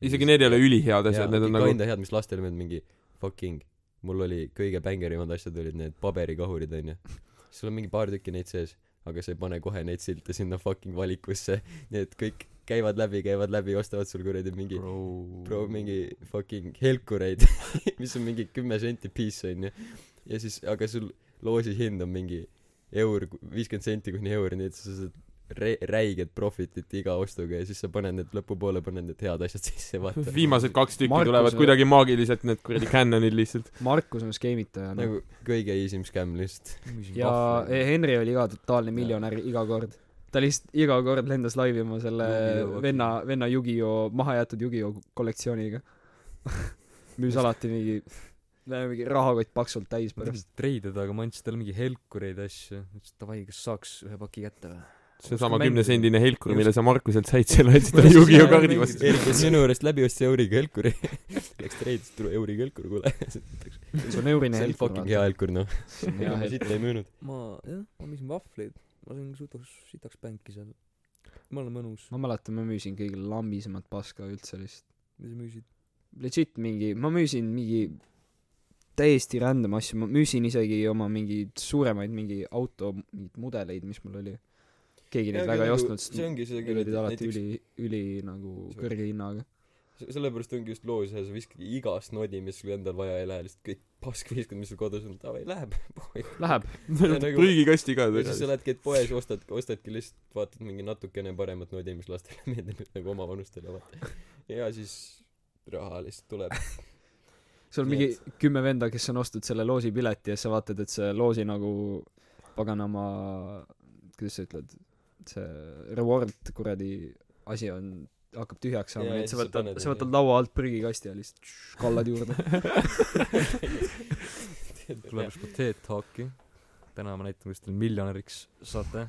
isegi need ei ole ülihead asjad , need on nagu
kinda head , mis lastele meeldib , mingi fucking , mul oli kõige bängerimad asjad olid need paberikahurid onju . sul on mingi paar tükki neid sees , aga sa ei pane kohe neid silte sinna fucking valikusse , nii et kõik käivad läbi , käivad läbi , ostavad sul kuradi mingi
pro
pro- mingi fucking helkureid , mis on mingi kümme senti piis onju . ja siis , aga sul loosi hind on mingi eur , viiskümmend senti kuni eur , nii et sa saad re- , räiget profitit iga ostuga ja siis sa paned need lõpupoole , paned need head asjad sisse , vaata .
viimased kaks tükki
Markus
tulevad
on-
kuidagi maagiliselt , need kuradi Canonid lihtsalt .
Markus on skeemitaja no. .
nagu kõige easy scam lihtsalt .
ja E. Henry oli ka totaalne miljonär iga kord . ta lihtsalt iga kord lendas laivima selle
Yu-Gi-Oh!
venna , venna Yu-Gi-Oh , mahajäetud Yu-Gi-Oh kollektsiooniga . müüs alati mingi , mingi rahakott paksult täis
ma
pärast .
tahtsin treidida aga ma andsin talle mingi helkureid ja asju ütles et davai kas saaks ühe paki kätte vä
seesama
mängida.
kümnesendine helkur ,
Just.
mille sa Markuselt said , selle andsid talle Yu-Gi-Oh kaardi
mängida.
vastu .
Erik käis minu juurest läbi , ostis euriga helkuri . Läks treidis , tule euriga helkur , kuule .
see on eurine
see oli
helkur ,
fucking hea helkur , noh . ega ma siit ei müünud .
ma jah ma müüsin vahvleid ma sain sutaks sitaks pänki seal ma olen mõnus
ma mäletan , ma müüsin kõige lambisemat paska üldse lihtsalt .
mis sa müüsid
Legit mingi , ma müüsin mingi täiesti random asju , ma müüsin isegi oma mingeid suuremaid mingi auto mingeid mudeleid , mis mul oli . keegi neid väga ei ostnud , sest
see ongi see
need
küll ,
olid
et
alati
näiteks
üli , üli nagu
Sorry.
kõrge hinnaga .
se- sellepärast ongi just loo sees , sa viskad iga snodi , mis sul endal vaja ei lähe , lihtsalt kõik pask viskad , mis sul kodus on , davai , läheb .
Läheb ,
nagu-
prügikasti ka
ja siis sa
tõenäoliselt .
lähedki , et poes ostad , ostadki lihtsalt , vaatad mingi natukene paremat nodi , mis lastele meeldib , nagu omavanustele , vaata . ja siis raha lihtsalt tuleb .
sul on
Nii
mingi kümme venda , kes on ostnud selle loosipileti ja siis sa vaatad , et see loosi nagu paganama , kuidas sa ütled , see reward kuradi asi on , hakkab tühjaks saama ,
Jaa,
nii
ja
et sa
siis sa
võtad
paned ,
sa
neid,
võtad laua alt prügikasti ja lihtsalt tš- kallad juurde .
tuleb ükskord Teet Haaki E täna ma näitan kuidas te miljonäriks saate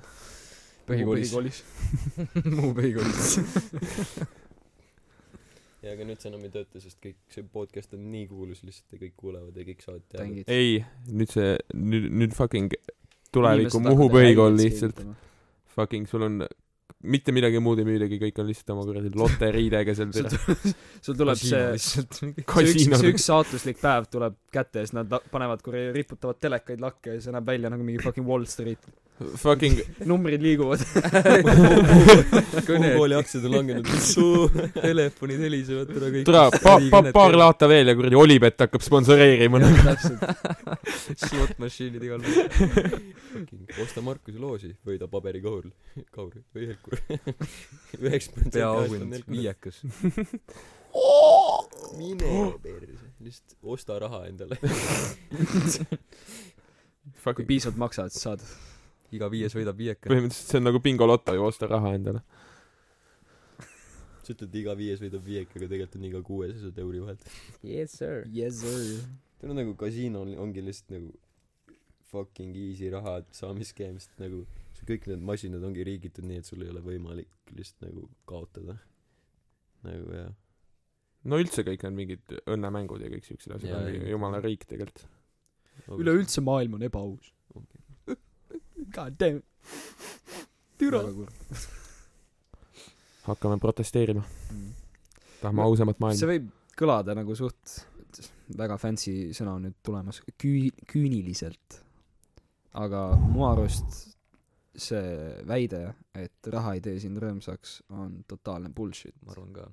põhikoolis
põhikoolis .
Muhu põhikoolis
ja aga nüüd see enam ei tööta , sest kõik see podcast on nii kuulus lihtsalt ja kõik kuulevad ja kõik saavad teada .
tängid .
ei , nüüd see , nüüd , nüüd fucking tuleviku Muhu põhikool lihtsalt . fucking sul on mitte midagi muud ei müüdagi , kõik on lihtsalt oma kuradi loteriidega seal
sul
peal .
tu- sul tuleb see
lihtsalt mingi
see üks , see
kasiinod .
üks saatuslik päev tuleb kätte ja siis nad la- panevad kuradi , riputavad telekaid lakke ja see näeb välja nagu mingi fucking Wall Street .
Fucking ,
numbrid liiguvad .
kõne
Mongooli aktsiad on langenud suu .
telefonid helisevad tule kõik
tule pa- , pa- , paar laata veel ja kuradi Olipet hakkab sponsoreerima . noh.
täpselt slot machine'id igal pool
osta Markuse loosi , võida paberikaur , kaur või helkur . üheksakümmend
peaauhind viiekas
mine perse , lihtsalt osta raha endale .
kui
Fucking ,
piisavalt maksad , siis saad .
iga viies võidab viieka
põhimõtteliselt see on nagu bingoloto ju , osta raha endale .
sa ütled iga viies võidab viieka , aga tegelikult on iga kuues ja saad euri vahelt .
yes sir
Yes sir .
see on nagu kasiino on- ongi lihtsalt nagu fucking easy raha saamiskeem , sest nagu see kõik need masinad ongi riigitud nii , et sul ei ole võimalik lihtsalt nagu kaotada . nagu jah .
no üldse kõik on mingid õnnemängud ja kõik siuksed asjad
Jaa,
on ju
jaa.
jumala riik tegelikult .
üleüldse maailm on ebaaus . God damn . türa .
hakkame protesteerima ,
Mm.
tahame
Ma-
ausamat maailma .
see võib kõlada nagu suht väga fancy sõna on nüüd tulemas küü- küüniliselt aga mu arust see väide et raha ei tee sind rõõmsaks on totaalne bullshit
ma arvan ka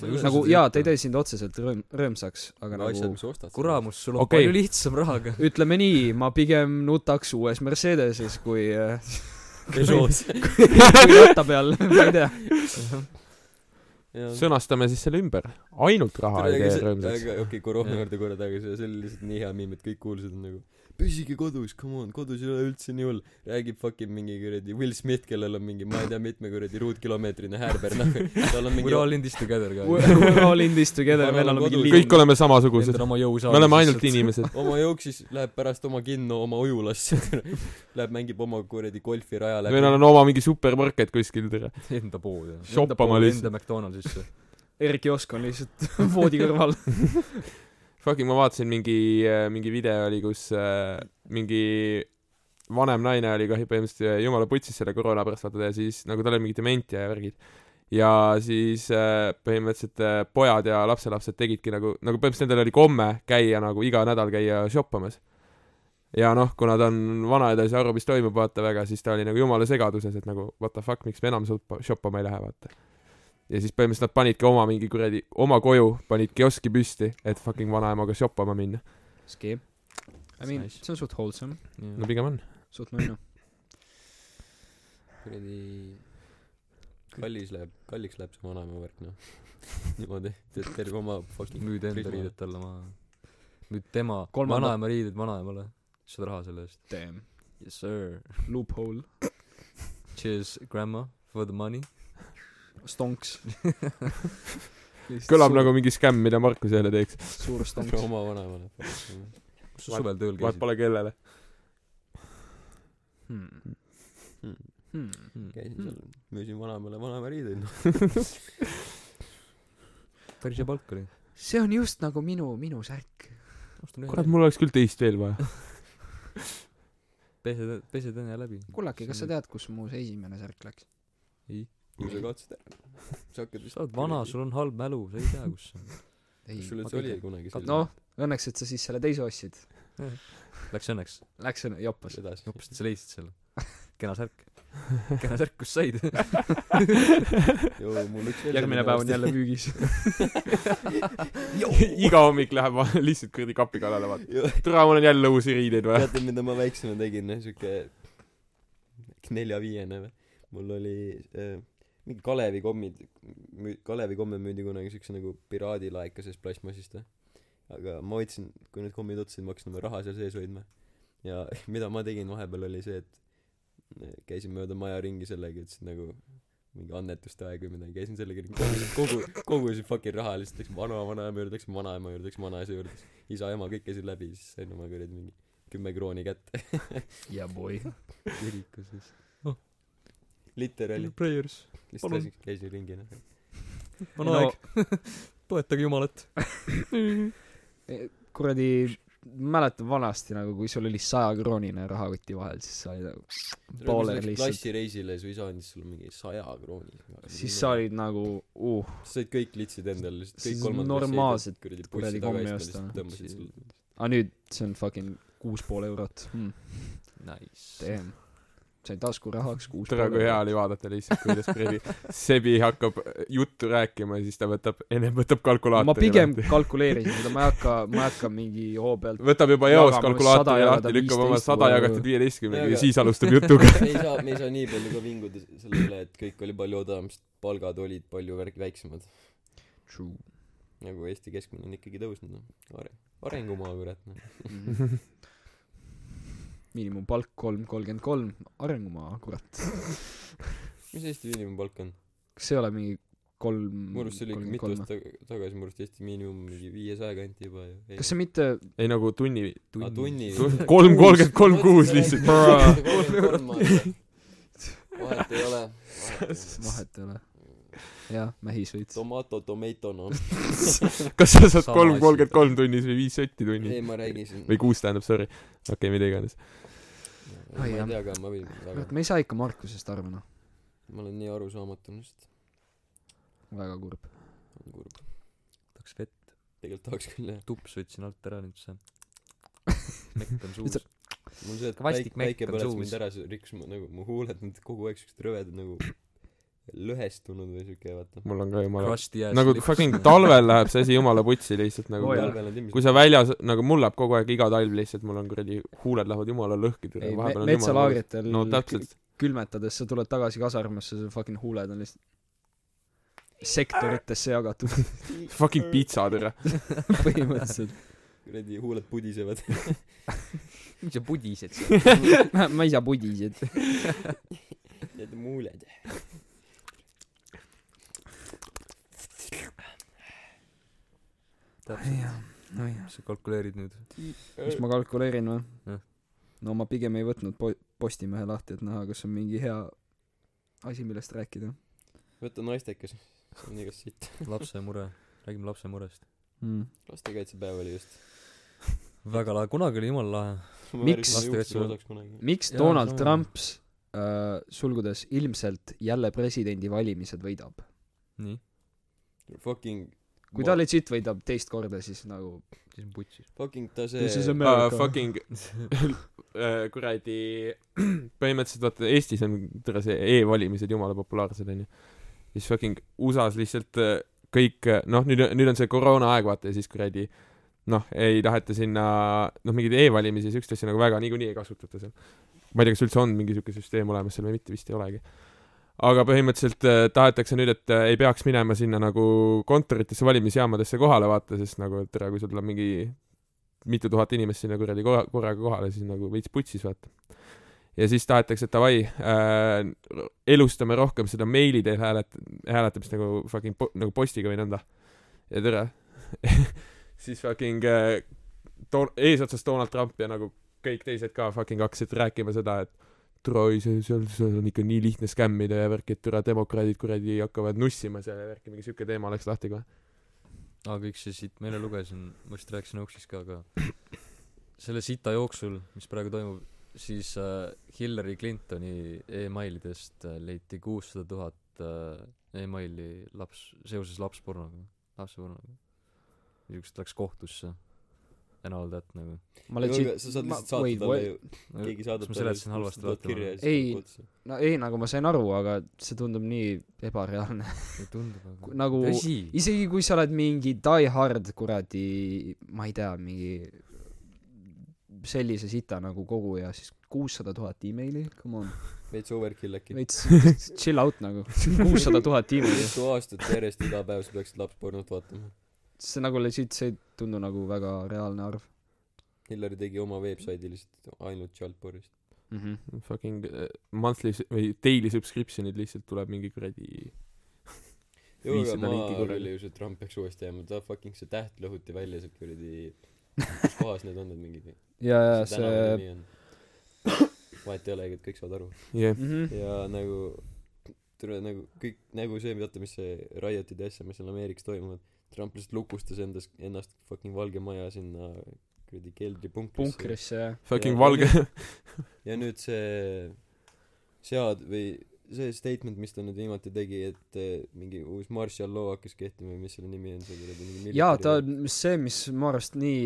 nagu jaa ta ei tee sind otseselt rõõm- rõõmsaks aga
aga asjad ,
nagu
mis sa ostad .
kuramus sul on
Okei.
okay. palju lihtsam rahaga
ütleme nii ma pigem nutaks uues Mercedeses kui äh,
Peugeotis .
kui ratta peal ma ei tea
sõnastame siis selle ümber , ainult raha ei tee rõõmsaks .
aga okei , koroona
Jah.
juurde korra tagasi , see oli lihtsalt nii hea miim , et kõik kuulsid nagu püsige kodus , come on , kodus ei ole üldse nii hull . räägib fucking mingi kuradi Will Smith , kellel on mingi , ma ei tea , mitme kuradi ruutkilomeetrine häärber , noh . tal on mingi
we are all in this together ka
We- we're all in this together
Vanal
meil on mingi
kodus.
linn
kõik oleme samasugused
endal , oma jõusaal
me oleme ainult inimesed .
oma jooksis läheb pärast oma kinno oma ujulasse . Läheb mängib oma kuradi golfiraja
meil
läbi .
on oma mingi supermarket kuskil , tere .
enda pood jah
shoppama lihtsalt .
enda McDonaldsisse
Erik Josk on lihtsalt voodi kõrval
Fucking ma vaatasin mingi , mingi video oli , kus äh, mingi vanem naine oli kah põhimõtteliselt äh, jumala putsis selle koroona pärast , vaata , ja siis nagu tal oli mingi dementia ja värgid . ja siis äh, põhimõtteliselt äh, pojad ja lapselapsed tegidki nagu , nagu põhimõtteliselt nendel oli komme käia nagu iga nädal käia shoppamas . ja noh , kuna ta on vana ja ta ei saa aru , mis toimub , vaata väga , siis ta oli nagu jumala segaduses , et nagu what the fuck , miks me enam shoppa- shoppama ei lähe , vaata . ja siis põhimõtteliselt nad panidki oma mingi kuradi , oma koju panid kioski püsti , et fucking vanaemaga shoppama minna .
skeem I mean
Nice.
see on suht wholesome
no pigem on .
suht nunnu
kuradi kallis läheb , kalliks läheb see vanaema värk , noh . niimoodi , teed terve oma fucking
müüd enda
Prisma.
riided talle maha müüd tema
Kolmanda-
vanaema riided vanaemale saad raha selle eest
damn
yes sir
loophole
cheers grandma for the money
stonks
kõlab nagu mingi skämm , mida Markus jälle teeks .
suur stonks
oma vanaemale .
kus sa suvel tööl
vaat
käisid
pole kellele .
hmm.
Hmm.
Hmm.
Hmm.
käisin seal , müüsin vanaemale vanaema riideid , noh .
päris hea palk oli
see on just nagu minu minu särk
ostan
kurat ,
ühe
mul oleks küll teist veel vaja .
pesed pesed enne läbi
kullaki kas sa tead kus mu see esimene särk läks
kui sa katsud ära . sa hakkad vist
sa oled vana sul on halb mälu sa ei tea kus see on
ei
kas sul üldse oli kunagi selline
noh õnneks et sa siis selle teise ostsid
läks õnneks
läks õnne joppas
edasi ?
hoopis et sa leidsid selle kena särk kena särk kust said
joo , mul üks veel
järgmine päev on jälle müügis
iga hommik läheb va- lihtsalt kuradi kapi kallale , vaata .
jälle
tore , mul on jälle uusi riideid vaja .
teate , mida ma väiksema tegin , siuke äkki nelja-viiene või ? mul oli äh, mingi Kalevi kommid , Kalevi komme müüdi kunagi siukse nagu piraadilaekases plastmassist või . aga ma hoidsin , kui need kommid otsa said , ma hakkasin oma raha seal sees hoidma . ja mida ma tegin vahepeal oli see , et äh, käisin mööda maja ringi sellega , ütlesin nagu mingi annetuste aeg või midagi , käisin sellega ringi , kogusin kogu , kogusin fucking raha , lihtsalt läksin vana vanaema juurde , läksin vanaema juurde , läksin vanaisa juurde , isa-ema kõik käisid läbi , siis sain oma kuradi mingi kümme krooni kätte
jaa boy
kirikuses
literaali
prayers
lihtsalt
Mm. Palun.
käisin käisin ringi noh
on
No.
aeg toetage jumalat
kuradi mäletan vanasti nagu , kui sul oli sajakroonine rahakoti vahel , siis sa olid nagu poolel lihtsalt ,
klassireisile ja su isa andis sulle mingi saja krooni
siis sa olid nagu uh ,
sa said kõik litsid endale lihtsalt
Siis
kõik kolmandad
normaalset
kuradi
kuradi
bussi
kommi
tagaistmel
osta, noh.
lihtsalt tõmbasid
Siis-
sulle
aga Ah, nüüd see on fucking kuus pool eurot mm, ,
Nice .
damn . sain taskurahaks kuus
tere , kui hea . oli vaadata lihtsalt , kuidas kuradi sebi hakkab juttu rääkima ja siis ta võtab , ennem võtab kalkulaatori
ma pigem kalkuleerisin seda , ma ei hakka , ma ei hakka mingi hoo pealt
võtab juba
jagama
eos
sada
kalkulaatori
jagada
lahti , lükkab oma
15
sada
või-
jagatud viieteistkümnega ja
Jaa,
siis
aga-
alustab jutuga .
me ei saa me ei saa nii palju ka vinguda selle üle et kõik oli palju odavam sest palgad olid palju värk- väiksemad
True.
nagu Eesti keskmine on ikkagi tõusnud noh are- arengumaa kurat noh
Mhm. miinimumpalk kolm kolmkümmend kolm , arengumaa , kurat .
mis Eesti miinimumpalk on
kas see ei ole mingi kolm ,
mu arust see oli ikka
kolmkümmend
mitu
kolm ?
aastat tag- tagasi mu arust Eesti miinimum mingi viiesaja kanti juba ju ei
kas see mitte ,
ei nagu tunni ,
aa tunni
kolm kolmkümmend kolm kuus lihtsalt .
vahet ei ole
vahet ei ole . jah , mähis veits .
tomato tomato noh
kas sa saad
Sama
kolm
asi.
kolmkümmend kolm tunnis või viis sotti
ei
tunnis ?
ma räägin siin
või kuus tähendab , sorry . okei okay, , mida iganes .
ma ei
jah.
tea ka ma võin väga
kurat , me ei saa ikka Markusest aru , noh .
ma olen nii arusaamatu lihtsalt
väga kurb .
on kurb
tahaks vett ,
tegelikult tahaks küll jah
tups võtsin alt ära nüüd see mekk on suus
Lihtsalt-
mul see et
Vastik
päik- päike
mekk on
põles
suus.
mind ära see rikkus mu nagu mu huuled need kogu aeg siuksed rõvedad nagu lõhestunud või siuke vaata
mul on ka jumala
krusty jääs
nagu fucking talvel läheb see asi jumala putsi lihtsalt nagu
Oh,
Oo, jaa.
talvel on
kui
timmis
sa väljas nagu mul läheb kogu aeg iga talv lihtsalt mul on kuradi huuled lähevad jumala lõhki
ei ,
vahepeal on jumala lõhki
metsalaagritel
no täpselt
külmetades sa tuled tagasi kasarmusse , su fucking huuled on lihtsalt sektoritesse jagatud
fucking pitsa tere
põhimõtteliselt .
kuradi huuled pudisevad
mis sa pudised seal
ma ei saa pudisid .
need muuled
täpselt
nojah .
mis sa kalkuleerid nüüd
mis ma kalkuleerin või
Jah. ?
no ma pigem ei võtnud po- , Postimehe lahti , et näha , kas on mingi hea asi , millest rääkida
võta naistekas see on igast sitt
lapse mure räägime lapse murest
mm. .
lastekaitsepäev oli just
väga lahe kunagi oli jumala lahe
Ma värvisin
Miks?
juuksed
Lastekaitse-
rosaks kunagi
miks
Jaa,
ja, Donald
sama.
Trumps äh, sulgudes ilmselt jälle presidendivalimised võidab ?
nii
fucking
kui ta legit võidab teist korda , siis nagu
siis on putsis
fucking ta see
This is
uh,
America uh, .
fucking äh, kuradi põhimõtteliselt vaata Eestis on tere see e-valimised jumala populaarsed onju siis fucking USA-s lihtsalt äh, kõik äh, noh nüüd nüüd on see koroonaaeg vaata ja siis kuradi noh ei taheta sinna noh mingeid e-valimisi ja siukseid asju nagu väga niikuinii ei kasutata seal ma ei tea kas üldse on mingi siuke süsteem olemas seal või mitte vist ei olegi aga põhimõtteliselt äh, tahetakse nüüd , et äh, ei peaks minema sinna nagu kontoritesse , valimisjaamadesse kohale vaata , sest nagu et tere , kui sul tuleb mingi mitu tuhat inimest sinna kuradi korra- korraga kohale , siis nagu veits putsis , vaata . ja siis tahetakse , et davai äh, , elustame rohkem seda meili teel häälet- , hääletamist nagu fucking po- , nagu postiga või nõnda . ja tere , siis fucking äh, toon- , eesotsas Donald Trump ja nagu kõik teised ka fucking hakkasid rääkima seda , et türa oi , see , seal , seal on ikka nii lihtne skämmida ja värki , et türa demokraadid kuradi hakkavad nussima seal ja värki , mingi siuke teema läks lahti kohe .
aa kõik see siit ma eile lugesin ma vist rääkisin Uksis ka aga selle sita jooksul mis praegu toimub siis äh, Hillary Clintoni emailidest äh, leiti kuussada tuhat äh, emaili laps seoses lapspornoga lapsepornoga niisugust läks kohtusse and all that nagu
ma legit ,
sa saad
ma-
lihtsalt saata
wait,
talle
wait.
ju
No
keegi
kas
saadab
ma seletasin halvasti vaata
kirja ja
ei
siis
Ei.
tuleb otsa
no ei , nagu ma sain aru , aga see tundub nii ebareaalne .
tundub aga
nagu
tõsi
isegi kui sa oled mingi die-hard kuradi , ma ei tea , mingi sellise sita nagu koguja , siis kuussada tuhat emaili , come on .
veits overkill äkki
veits chill out nagu , kuussada tuhat emaili .
mitu aastat järjest iga päev sa peaksid lapspornot vaatama
see nagu legit , see ei tundu nagu väga reaalne arv
Hillary tegi oma veebsaidi lihtsalt ainult childpornist
mm .
Mhm.
-hmm.
fucking äh, monthly s- või daily subscription'id lihtsalt tuleb mingi kuradi
jaa aga
Viissada
ma
linki korraga.
oli ju see Trump peaks uuesti jääma ta fucking see täht lõhuti välja sealt kuradi kus kohas need on need mingid
ja , ja
mis see tänava
Äh, see ,
nimi on vahet ei olegi et kõik saavad aru
jah yeah.
mhmh ,
ja nagu tule nagu kõik nagu see vaata mis see riotid ja asja mis seal Ameerikas toimuvad Trump lihtsalt lukustas endas ennast fucking Valge Maja sinna kuradi keldripunkrisse .
punkrisse ja
Fucking
Ja-
valge .
ja nüüd see sead- või see statement , mis ta nüüd viimati tegi , et eh, mingi uus martial law hakkas kehtima või mis selle nimi on , see kuradi mingi
jaa , ta , see , mis mu arust nii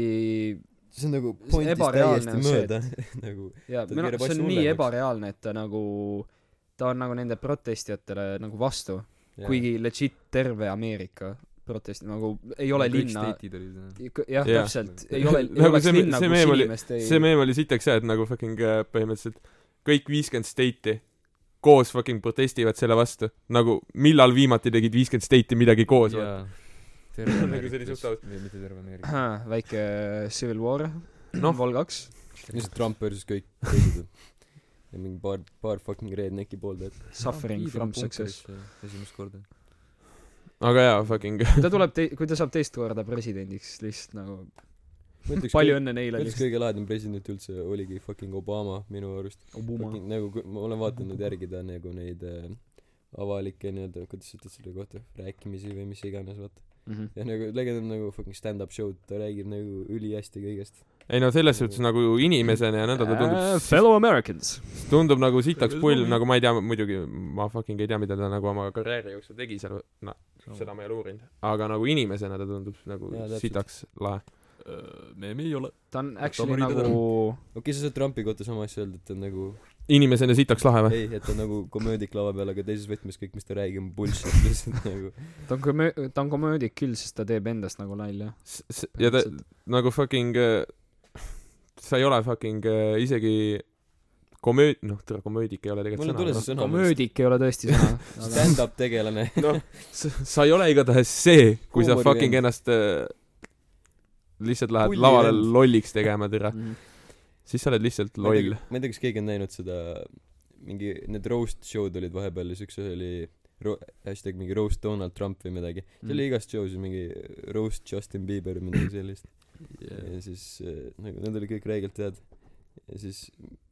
see on nagu
see
pointist
ebareaalne
täiesti
on see,
mööda nagu
jaa ,
Ta
minu
keerab
arust see
asju
on nii
hullemaks.
ebareaalne , et ta nagu ta on nagu nende protestijatele nagu vastu ,
jaa.
kuigi legit terve Ameerika protest nagu ei ole linna
state'id olid
jah ,
Jah.
täpselt , ei ole , ei
Nagu
oleks
see me-
linna ,
see
kus
meem oli-
inimest ei
see meem oli sitaks jah , et nagu fucking äh, põhimõtteliselt kõik viiskümmend state'i koos fucking protestivad selle vastu . nagu millal viimati tegid viiskümmend state'i midagi koos või ?
jaa terve
Nagu see oli
Ameerika
suht aus.
või mitte terve Ameerika
Ahah, väike äh, Civil War
Noh.
Vol kaks
lihtsalt Trump versus kõik teised ja mingi paar paar fucking rednecki pooldajat
Suffering from success
esimest korda
aga jaa , fucking
kui ta tuleb tei- kui ta saab teist korda presidendiks lihtsalt nagu
ma ütleks
palju
kõik-
õnne
ma
neile
ütleks
lihtsalt
kõige lahedam president üldse oligi fucking Obama minu arust
Obama
fucking nagu kui ma olen vaadanud järgi ta nagu neid äh, avalikke niiöelda kuidas sa ütled selle kohta rääkimisi või mis iganes vaata
Mhm.
ja nagu legend on nagu fucking stand-up show'd ta räägib nagu ülihästi kõigest
ei no selles suhtes nagu inimesena ja nõnda ta
Äh,
tundub ,
Fellow Americans
tundub nagu sitaks pull , nagu ma ei tea , muidugi ma fucking ei tea , mida ta nagu oma karjääri jooksul tegi seal , noh , seda ma ei ole uurinud . aga nagu inimesena ta tundub nagu
Jaa, täpselt.
sitaks lahe .
Äh, me ei ole
ta on actually
Tamari
nagu
okei okay, sa saad Trumpi kohta sama asja öelda et ta on nagu
inimesena sitaks lahe või ?
ei et ta on nagu komöödik lava peal aga teises võtmes kõik mis ta räägib on bullshit lihtsalt nagu
ta on komöö- ta on komöödik küll sest ta teeb endast nagu nalja
ja ta , nagu fucking äh, sa ei ole fucking äh, isegi komööd- , noh , tere , komöödik ei ole
Mul ei
tegelikult
tule
sõna .
see sõna
komöödik ei ole tõesti sõna aga
stand-up tegelane
sa ei ole igatahes see , kui sa
Huumori
fucking
vend.
ennast äh, lihtsalt lähed
Pulli
lavale
vend.
lolliks tegema , tere .
Mhm.
siis sa oled lihtsalt
ma ei
loll
tea . ma ei tea kas keegi on näinud seda mingi need roast show'd olid vahepeal ja siukses oli ro- hashtag mingi roast Donald Trump või midagi see oli igas show's mingi roast Justin Bieber või midagi sellist ja siis äh, nagu need olid kõik räigelt head ja siis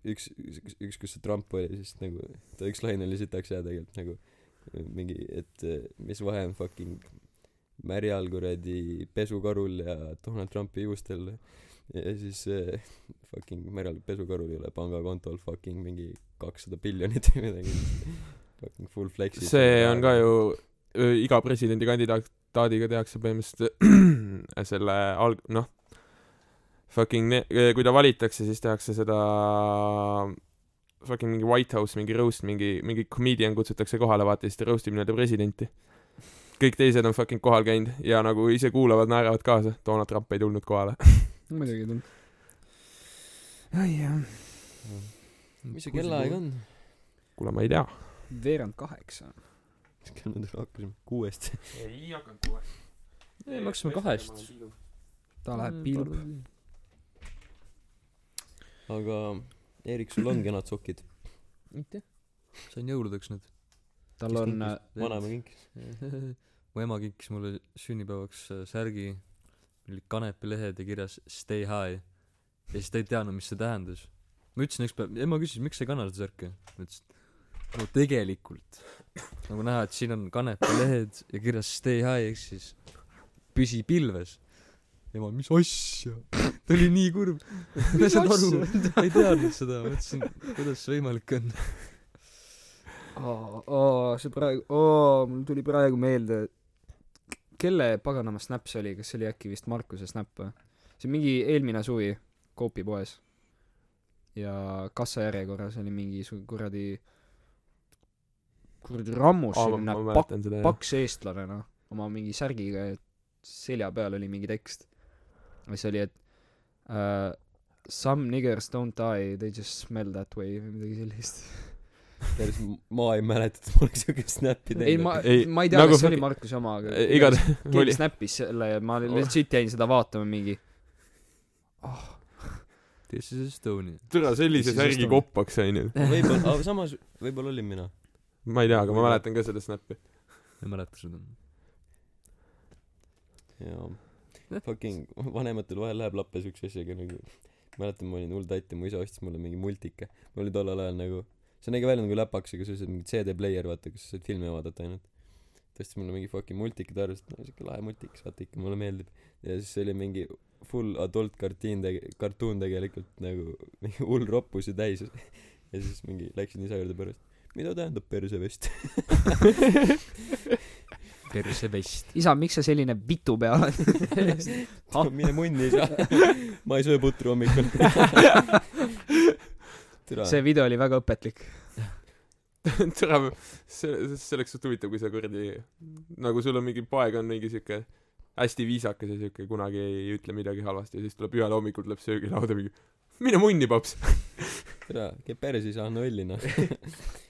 üks üks üks kus see Trump oli siis nagu ta üks laine oli sitaks hea tegelikult nagu mingi et äh, mis vahe on fucking märjal kuradi pesukarul ja Donald Trumpi juustel ja siis äh, fucking märjal pesukarul ei ole pangakontol fucking mingi kakssada miljonit või midagi fucking full flex'id
see on ka ju öö, iga presidendikandidaadiga tehakse põhimõtteliselt selle alg- noh fucking ne- kui ta valitakse siis tehakse seda fucking mingi White House mingi roast mingi mingi comedian kutsutakse kohale vaata ja siis ta roast ib nii-öelda presidenti kõik teised on fucking kohal käinud ja nagu ise kuulavad naeravad kaasa Donald Trump ei tulnud kohale
muidugi ei tulnud ai jah
mis see kellaaeg on
kuule ma ei tea
veerand kaheksa
kell me hakkasime kuuest
ei hakanud kohe
ei me hakkasime kahest
ta läheb piilub
aga Erik , sul on kenad sokid .
mitte sain jõuludeks need
tal on äh,
vanaema kinkis .
mu ema kinkis mulle sünnipäevaks äh, särgi mul oli kanepilehed ja kirjas stay high ja siis ta ei teadnud mis see tähendas ma ütlesin ükspäev ema küsis miks sa ei kanna seda särki ma ütlesin et no tegelikult nagu näha et siin on kanepilehed ja kirjas stay high ehk siis püsi pilves ema mis asja ta oli nii kurb ta ei saanud aru ta ei teadnud seda ma ütlesin kuidas see võimalik on
oo oo äh, see praegu oo mul tuli praegu meelde kelle paganama snap see oli kas see oli äkki vist Markuse snap või see mingi eelmine suvi Coopi poes ja kassajärjekorras oli mingi su- kuradi kuradi
aa ma
rammusinna
ma
pak-
mäletan seda jah
paks eestlane noh oma mingi särgiga ja selja peal oli mingi tekst mis oli et uh, some niggers don't die they just smell that way või midagi sellist
päris , ma ei mäleta , et ma oleks siukest snappi
ei
teinud .
ma
Ei,
ma ei tea
nagu
nagu kas see oli
fucking-
Markuse oma aga
E- igatahes oli-
keegi snappis selle ja ma legit jäin seda vaatama mingi
this is Estonia
türa sellise
Siis
särgi
ostame.
koppaks onju
võib-olla , aga samas , võib-olla olin mina .
ma ei tea aga ma mäletan ka seda snappi
ma ei mäleta seda
jaa . Fucking vanematel vahel läheb lappe siukse asjaga nagu . mäletan , ma olin hull tatt ja mu isa ostis mulle mingi multika . ma olin tollel ajal nagu , see nägi välja nagu läpaks , aga see oli see mingi CD-pleier , vaata , kus sa said filme vaadata ainult . ta ostis mulle mingi fucking multika , ta arvas , et no siuke lahe multikas , vaata ikka mulle meeldib . ja siis see oli mingi full adult kartiin tege- kartuun tegelikult nagu mingi hull roppusi täis ja siis mingi läksin isa juurde pärast mida tähendab persevest
persevest .
isa , miks sa selline vitu pea oled ? Ah.
mine munni isa ma ei söö putru hommikul türa
see video oli väga õpetlik .
tere , see , see oleks suht huvitav , kui sa kuradi , nagu sul on mingi poeg on mingi siuke hästi viisakas ja siuke kunagi ei ütle midagi halvasti ja siis tuleb ühel hommikul tuleb söögilauda mingi mine munni , paps .
türa käib päris isa on õlli noh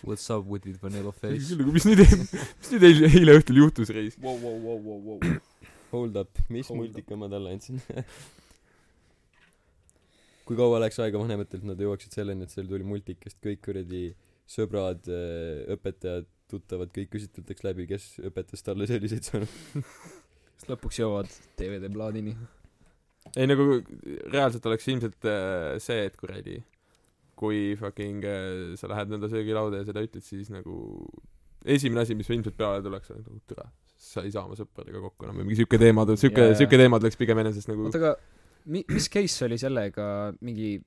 What's up with it vanilla face ?
küll , aga Nagu, mis nüüd , mis nüüd eile , eile õhtul juhtus , reis ?
wow, wow, wow, wow, wow.
hold up mis
Hold up.
multika ma talle andsin kui kaua läks aega vanematelt nad jõuaksid selleni et seal tuli multikast kõik kuradi sõbrad äh, õpetajad tuttavad kõik küsitletakse läbi kes õpetas talle selliseid sõnu
siis lõpuks jõuavad DVD plaadini .
ei nagu reaalselt oleks ilmselt äh, see , et kuradi , kui fucking äh, sa lähed nõnda söögilauda ja seda ütled , siis nagu esimene asi , mis ilmselt peale tuleks , on nagu türa , sa ei saa oma sõpradega kokku enam või mingi siuke teema , siuke
Jaa, , jaa.
siuke teema tuleks pigem enesest nagu
oota , aga mi- , mis case oli sellega mingi ,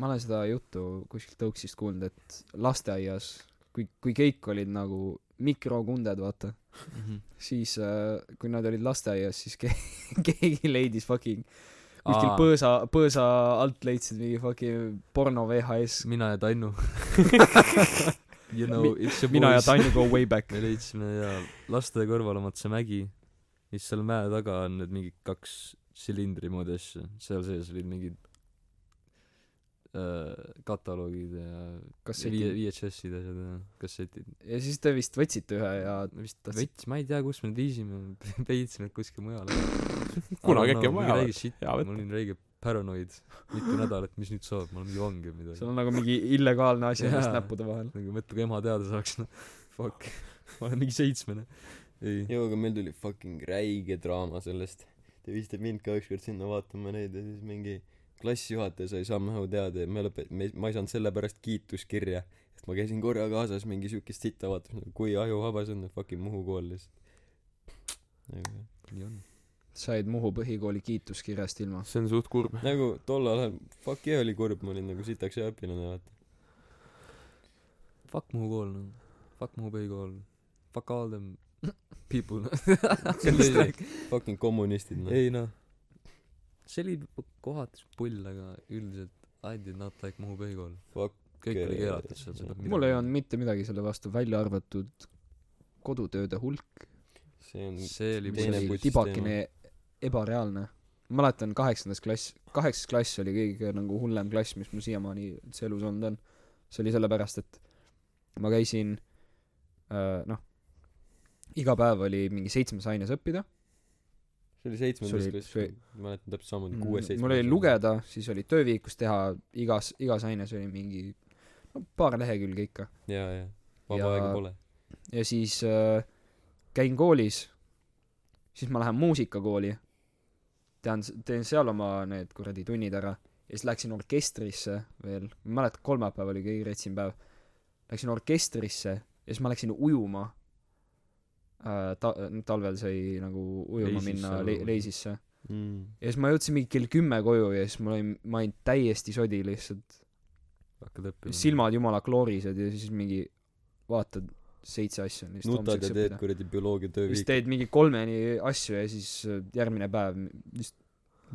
ma olen seda juttu kuskilt tõuksist kuulnud , et lasteaias , kui , kui kõik olid nagu mikrokunded , vaata ,
Mhm.
siis äh, kui nad olid lasteaias , siis ke- , keegi leidis fucking kuskil
Aa.
põõsa , põõsa alt leidsid mingi fucking porno VHS .
mina ja Tannu You know
Mi-
it's a
mina ja
boys.
Tanju go way back
me . leidsime ja laste kõrval on vaata see mägi ja siis seal mäe taga on need mingi kaks silindri moodi asja seal sees olid mingid äh, kataloogid ja viie
kassetid .
VHS-id ja asjad ja kassetid
ja siis te vist võtsite ühe ja
No vist
Tahtsid-
vets ma ei tea kus me need viisime peidsime need kuskile mujale
Kunagi äkki on vaja
vaja
vaata. Hea
ma
võtta.
olin räige paranoid mitu nädalat mis nüüd saab ma olen mingi vange või midagi
sul on nagu mingi illegaalne asi
Jaa.
ennast näppude vahel .
nagu mõtle kui ema teada saaks noh fuck ma olen mingi seitsmene ei
jõu aga meil tuli fucking räige draama sellest te viisite mind ka ükskord sinna vaatama neid ja siis mingi klassijuhataja sai sammhau teada ja me lõpe- me ma ei saanud selle pärast kiituskirja sest ma käisin korra kaasas mingi siukest sitta vaatamas nagu kui ajuvaba see on fucking Muhu kool lihtsalt nagu jah.
nii on
said Muhu põhikooli kiituskirjast ilma .
see on suht kurb .
nagu tol ajal fuck yeah oli kurb ma olin nagu sitaks ja õpilane vaata
Fuck Muhu kool noh Fuck Muhu põhikool Fuck all them people noh
see on tõsi fucking kommunistid noh
ei noh see oli p- kohati pull aga üldiselt I did not like Muhu põhikool
Fuck.
kõik oli keelatud seal seda
mul ei olnud mitte midagi selle vastu , välja arvatud kodutööde hulk ,
see on
see oli
mis
Teine
oli
putš
tibakene ebareaalne . mäletan kaheksandas klass , kaheksas klass oli kõige nagu hullem klass , mis mul siiamaani üldse elus olnud on . see oli sellepärast , et ma käisin äh, noh , iga päev oli mingi seitsmes aines õppida ,
see oli seitsmendas
see oli-
klass
see- Mm,
ma mäletan täpselt samamoodi kuues
mul oli lugeda , siis oli tööviikus teha , igas , igas aines oli mingi no paar lehekülge ikka .
jaa jaa vaba
Ja-
aega pole
ja siis äh, käin koolis , siis ma lähen muusikakooli , tean , teen seal oma need kuradi tunnid ära ja siis läksin orkestrisse veel , ma ei mäleta , kolmapäev oli kõige retsim päev , läksin orkestrisse ja siis ma läksin ujuma äh, , ta- , talvel sai nagu ujuma
Leisisse
minna
või
le-
kuhu? ,
leisisse .
mm.
ja siis ma jõudsin mingi kell kümme koju ja siis mul oli , ma olin täiesti sodi lihtsalt ,
hakkad
Mm.
õppima
silmad jumala kloorised ja siis mingi vaatad , seitse asja on lihtsalt
nutad ja
homseks
teed
õppida .
kuradi bioloogia
siis
tööviik
teed mingi kolmeni asju ja siis äh, järgmine päev m- lihtsalt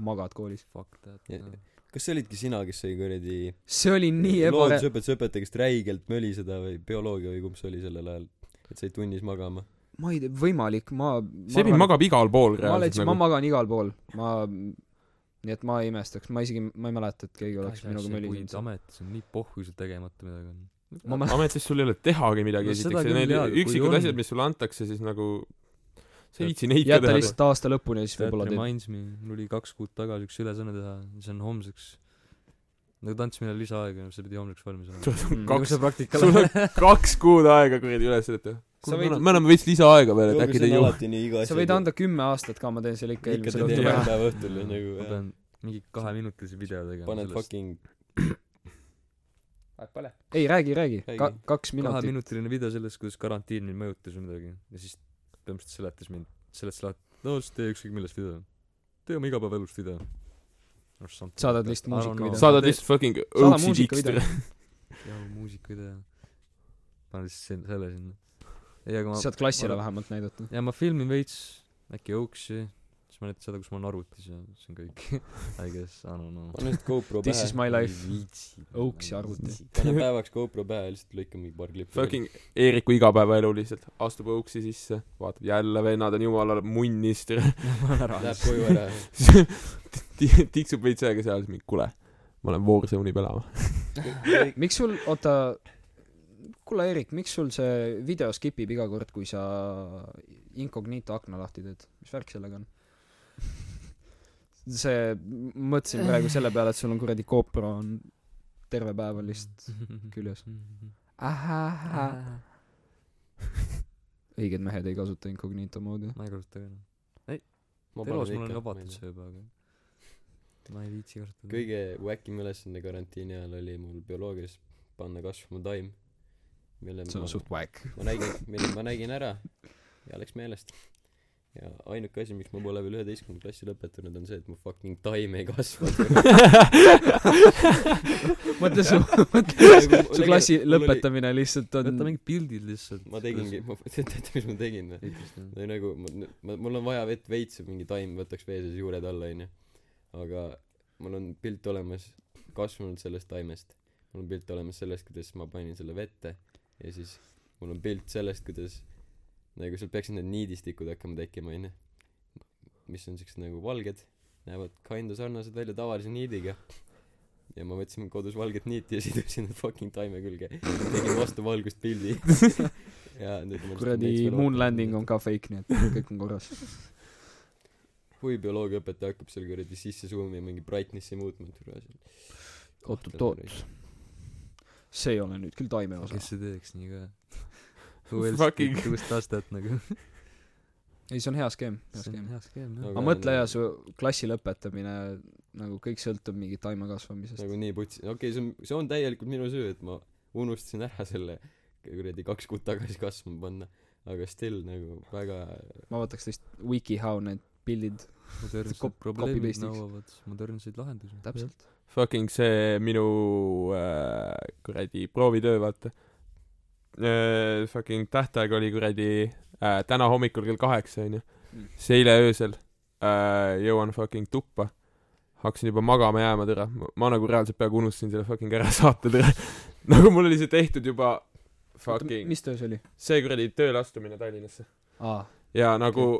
magad koolis .
fuck that
Ja-
noh.
kas see olidki sina kes sai kuradi
see oli nii ebare- ,
loodusõpetuse õpetaja kes räigelt möli seda või bioloogia või kumb see oli sellel ajal et sai tunnis magama
ma ei tea , võimalik , ma
Sebi magab igal pool
ma olen ,
reaalselt
ma
nagu .
magan igal pool , ma nii et ma ei imestaks , ma isegi , ma ei mäleta , et keegi oleks
Asja,
minuga
asja, kuid
mölisenud .
ametis on nii pohhuiselt tegemata midagi on
ma mäletan ,
ametis sul ei ole tehagi midagi
No seda
esiteks ja
küll
need
jaa, aga kui
üksikud
on-
asjad , mis sulle antakse , siis nagu sa ei viitsi neid ka
jäta
teha .
lihtsalt aasta lõpuni ja siis
That
võib-olla teed .
reminds me mul oli kaks kuud tagasi üks ülesanne teha ja see on homseks nagu ta andis meile lisaaega ja see pidi homseks valmis olema Nagu
Mm.
kaks-
kaks
sul
praktikale
on kaks kuud aega kuradi üles võtta .
Sa võid-
me anname veits lisaaega veel , et äkki
see
te ei
on
jõua .
alati nii iga
sa võid anda kümme aastat ka , ma teen selle ikka
ikka
eelmisel
teed
õhtul
teha.
iga
ära .
päev õhtul ja nagu
ma
jah.
pean mingi kaheminutilise video tegema
paned
sellest
fucking
ei , räägi , räägi
Räägi. ,
kaks minutit .
kaheminutiline video sellest kuidas karantiin mind mõjutas või midagi ja siis põhimõtteliselt seletas mind seletas lahti no siis tee ükskõik millest video tee oma igapäevaelust video .
Saadad lihtsalt muusikavideo.
saadad lihtsalt fucking
Saada
OCD-ks
muusikavideo.
tere .
jah , muusikavideo . panen lihtsalt sin- selle sinna . ei , aga ma ,
saad klassile
ma-
vähemalt näidata .
ja ma filmin veits äkki Oaksi , siis ma näitan seda , kus ma olen arvutis ja see on kõik . I guess , I don't know .
pane lihtsalt GoPro
This is
pähe
my life .
viitsi .
Oaks ja arvuti .
pane päevaks GoPro pähe ja lihtsalt lõika mingi paar klippi
Fucking Eeriku igapäevaelu lihtsalt , astub õuksi sisse , vaatab jälle vennad on jumala munnis tere .
ma olen ära .
läheb koju ära
Ti- tiksub veits aega seal , siis mingi kuule , ma lähen Warzone'i pelama .
miks sul , oota , kuule , Erik , miks sul see video skip ib iga kord , kui sa incognito akna lahti teed , mis värk sellega on ? see , mõtlesin praegu selle peale , et sul on kuradi GoPro on terve päev on lihtsalt küljes . õiged mehed ei kasuta incognito moodi .
ma ei kasuta ka enam .
ma panen
elus mul on
ikka
lubatud
meelde.
see juba , aga ma ei viitsi kasutada .
kõige whack im ülesanne karantiini ajal oli mul bioloogias panna kasvama taim mille
see
ma
on suht whack .
ma nägin mille ma nägin ära ja läks meelest ja ainuke asi miks ma pole veel üheteistkümnenda klassi lõpetanud on see et mu fucking taim ei kasvanud
mõtle su , su klassi lõpetamine lihtsalt
võta
on
mingid pildid lihtsalt .
ma tegingi ma teate mis ma tegin või
ma
Mm.
või nagu ma nü- ma mul on vaja vett veits et mingi taim võtaks vee sees juured alla onju aga mul on pilt olemas kasvanud sellest taimest mul on pilt olemas sellest kuidas ma panin selle vette ja siis mul on pilt sellest kuidas nagu seal peaksid need niidistikud hakkama tekkima onju mis on siuksed nagu valged näevad kinda sarnased välja tavalise niidiga ja ma võtsin kodus valget niiti ja sidusin need fucking taime külge tegin vastu valgust pildi ja nüüd ma
kuradi moon landing on ka fake , nii et kõik on korras .
kui bioloogiaõpetaja hakkab seal kuradi sisse suumi ja mingi brightnessi muutma et kurat see-
oot , oot ,
Kohtlane
oot . see ei ole nüüd küll taime osa .
kes see teeks nii ka
Who else Fucking-
fucking kuus aastat nagu
ei , see on hea skeem , hea
see on
skeem .
hea skeem
jah.
jah
aga
Aga
mõtle
nagu-
ja su klassi lõpetamine nagu kõik sõltub mingi taime kasvamisest .
nagu nii putsi okei okay, see on see on täielikult minu süü et ma unustasin ära selle kuradi kaks kuud tagasi kasvama panna aga still nagu väga
ma vaataks teist WikiHow need pildid
modernsed
Cop-
probleemid
copy-paste'iks.
nõuavad modernseid lahendusi
täpselt .
Fucking see minu äh, kuradi proovitöö , vaata äh, . Fucking tähtaeg oli kuradi äh, täna hommikul kell kaheksa , onju .
Mm.
siis eile öösel äh, jõuan fucking tuppa . hakkasin juba magama jääma , tere . ma nagu reaalselt peaaegu unustasin selle fucking ära saata , tere . nagu mul oli see tehtud juba fucking ,
mis töö see oli ?
see kuradi tööle astumine Tallinnasse .
aa ,
ja nagu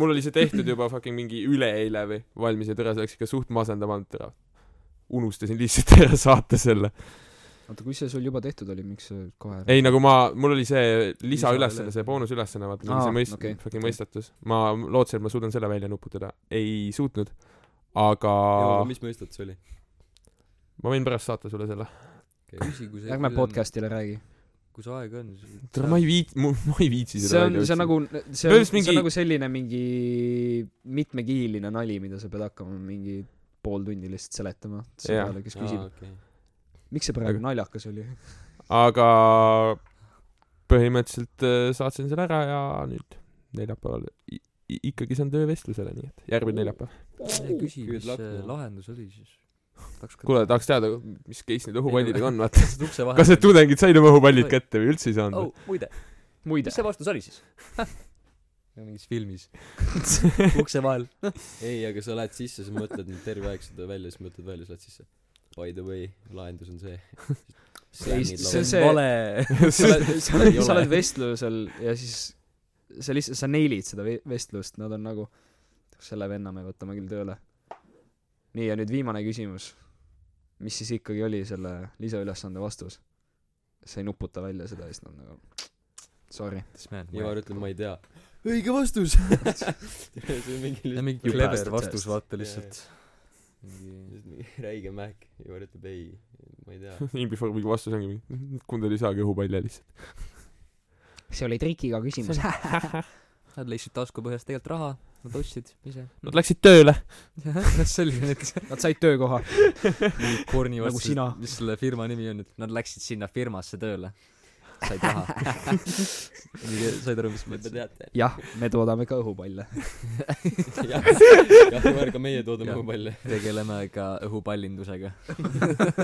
mul oli see tehtud juba fucking mingi üleeile või valmis ja tere , see läks ikka suht masendama olnud ära . unustasin lihtsalt ära saata selle .
oota , kui see sul juba tehtud oli , miks sa kohe
ei , nagu ma , mul oli see
Lisaülesanne.
lisaülesanne , see boonusülesanne , vaata ,
Aa,
see mõist-
okei,
okay, , fucking
okei.
okay. mõistatus . ma lootsin , et ma suudan selle välja nuputada . ei suutnud . aga
Jaa, mis mõistet see oli
ma võin pärast saata sulle selle .
küsi kui see
ärme podcastile räägi .
kui see aega on siis
tere , ma ei viit- , ma ei viitsi
see
seda
on , see on nagu , see on ,
Põhimõtteliselt
see on
mingi-
nagu selline mingi mitmekihiline nali , mida sa pead hakkama mingi pool tundi lihtsalt seletama
Jah.
sõbrale , kes
aa
küsib ,
okei
miks see praegu
Aga-
naljakas oli .
aga põhimõtteliselt äh, saatsin selle ära ja nüüd neljapäeval i- i- ikkagi saan töövestlusele , nii et järgmine neljapäev .
Ei, küsi
Good
mis
luck,
see
noh.
äh, lahendus oli siis tahaks ka
kuule , tahaks teada , mis case need õhupallidega on , vaata .
tõstad ukse vahele
kas need tudengid said oma õhupallid kätte või üldse ei saanud
oh muide
muide
mis , see vastus oli siis Ja mingis filmis ukse vahel
ei aga sa lähed sisse sa mõtled nüüd terve aeg seda välja siis mõtled välja siis lähed sisse by the way lahendus on see
Ei,
Sämmid
see on
laual.
see-
vale
sa oled , sa oled
Ei ,
sa
ole.
oled vestlusel ja siis sa lihtsalt , sa neilid seda ve- vestlust , nad on nagu , selle venna me võtame küll tööle . nii , ja nüüd viimane küsimus . mis siis ikkagi oli selle lisaülesande vastus ? sa ei nuputa välja seda ja siis nad nagu sorry .
This man, ma ei-
Ivar ütleb ma ei tea õige vastus see on mingi
ja
lihtsalt
mingi
You
clever
bastard
vastus
test.
vaata
Jaa,
lihtsalt mingi
lihtsalt mingi räige mähk Ivar ütleb ei ma ei tea
imbiformiga vastus ongi mingi , kundel ei saagi õhupalle lihtsalt .
see oli trikiga küsimus .
Nad leidsid tasku põhjast tegelikult raha , nad ostsid ise .
Nad läksid tööle .
selge nüüd .
Nad said töökoha .
korni
Nagu
vastu
sina. ,
mis selle firma nimi on nüüd , nad läksid sinna firmasse tööle .
said raha .
said aru , mis ma
te
ütlesin ?
teate .
jah , me toodame ka õhupalle .
jah , jah , ka meie toodame
Jah.
õhupalle .
tegeleme ka õhupallindusega .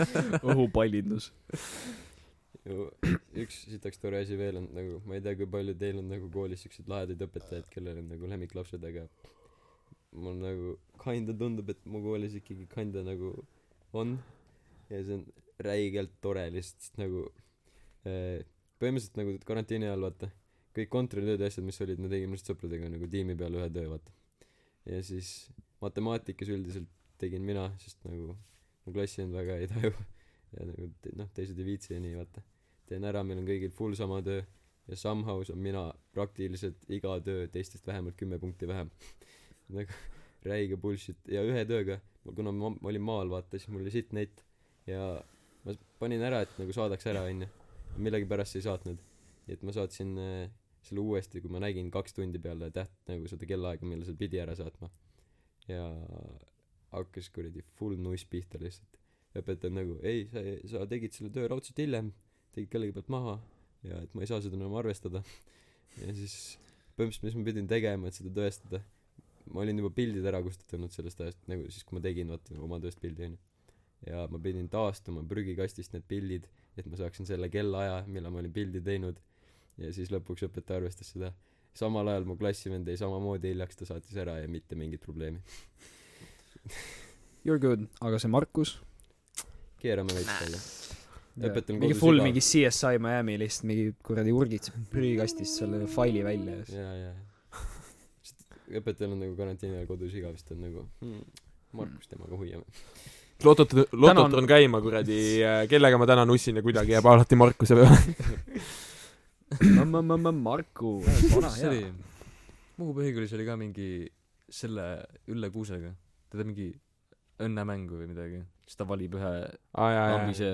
õhupallindus .
üks sitaks tore asi veel on nagu , ma ei tea , kui palju teil on nagu koolis siukseid lahedaid õpetajaid , kellel on nagu lemmiklapsed , aga mul nagu kinda tundub , et mu koolis ikkagi kinda nagu on ja see on räigelt tore lihtsalt , sest nagu eh, põhimõtteliselt nagu karantiini ajal vaata , kõik kontoritööd ja asjad , mis olid , me tegime lihtsalt sõpradega nagu tiimi peal ühe töö vaata . ja siis matemaatikas üldiselt tegin mina , sest nagu mu klassivend väga ei taju ja nagu te- noh , teised ei viitsi ja nii vaata . teen ära , meil on kõigil full sama töö ja somehow saan mina praktiliselt iga töö teistest vähemalt kümme punkti vähem . nagu räige bullshit ja ühe tööga , kuna ma ma olin maal vaata , siis mul oli sitt net ja ma s- panin ära , et nagu saadaks ära onju , millegipärast ei saatnud . nii et ma saatsin äh, selle uuesti , kui ma nägin kaks tundi peale täht- , nagu seda kellaaega , millal see pidi ära saatma . ja hakkas kuradi full nuss pihta lihtsalt . õpetaja on nagu ei , sa , sa tegid selle töö raudselt hiljem , tegid kellegi pealt maha ja et ma ei saa seda enam arvestada . ja siis põhimõtteliselt , mis ma pidin tegema , et seda tõestada , ma olin juba pildid ära kustutanud sellest ajast , nagu siis , kui ma tegin vaata oma tööst pildi onju . ja ma pidin taastama prügikastist need pildid , et ma saaksin selle kellaaja , millal ma olin pildi teinud . ja siis lõpuks õpetaja arvestas seda . samal ajal mu klassivend jäi samamoodi hiljaks , ta saatis ära ja mitte mingit probleemi .
You are good , aga see Markus .
keerame veits välja . Õpetan
mingi
kodus
full
iga-
mingi CSI Miami lihtsalt mingi kuradi urgitseb prügikastist selle faili välja ja siis
jaa , jaa . õpetajal on nagu karantiini ajal kodus igav , siis ta on nagu hmm, Markus temaga hoiame .
lotot ,
Tänan-
lotot on käima kuradi , kellega ma täna nussin ja kuidagi jääb alati Markuse peale .
Marku , vana
see
hea
oli , Muhu põhikoolis oli ka mingi selle Ülle Kuusega , teda mingi õnnemängu või midagi , siis ta valib ühe
aa jaa , jaa .
ambise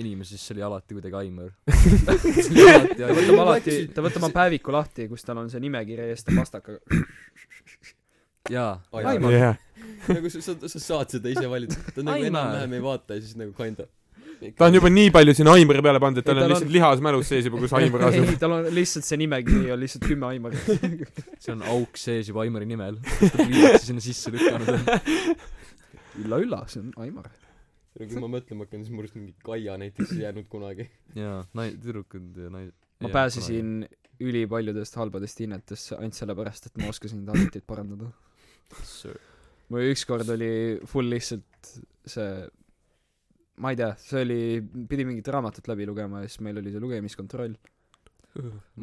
inimese , siis see oli alati kuidagi Aimar . see oli alati
ta võtab
Aimar .
alati , ta võtab oma päeviku lahti , kus tal on see nimekiri ja siis ta pastakaga
jaa ,
Aimar ,
jah ,
nagu sa , sa , sa saad seda ise valida , ta nagu
Aimar.
enam-vähem ei vaata ja siis nagu kinda .
ta on juba nii palju sinna Aimari peale pannud , et tal on
Ei, tal
lihtsalt
on-
lihas mälus sees juba , kus Aimar asub
ei , tal on lihtsalt see nimekiri on lihtsalt kümme Aimarit .
see on auk sees juba Aimari nimel . ta viiakse sinna sisse lükanud on .
ülla-ülla , see on Aimar .
Nagu kui ma mõtlema hakkan , siis mul just mingi Kaia näiteks ei jäänud kunagi .
jaa , nai- , tüdrukud ja nai- .
ma pääsesin ülipaljudest halbadest hinnetest ainult sellepärast , et ma oskasin enda arvutit parandada . mul ükskord oli full lihtsalt see , ma ei tea , see oli , pidi mingit raamatut läbi lugema ja siis meil oli see lugemiskontroll .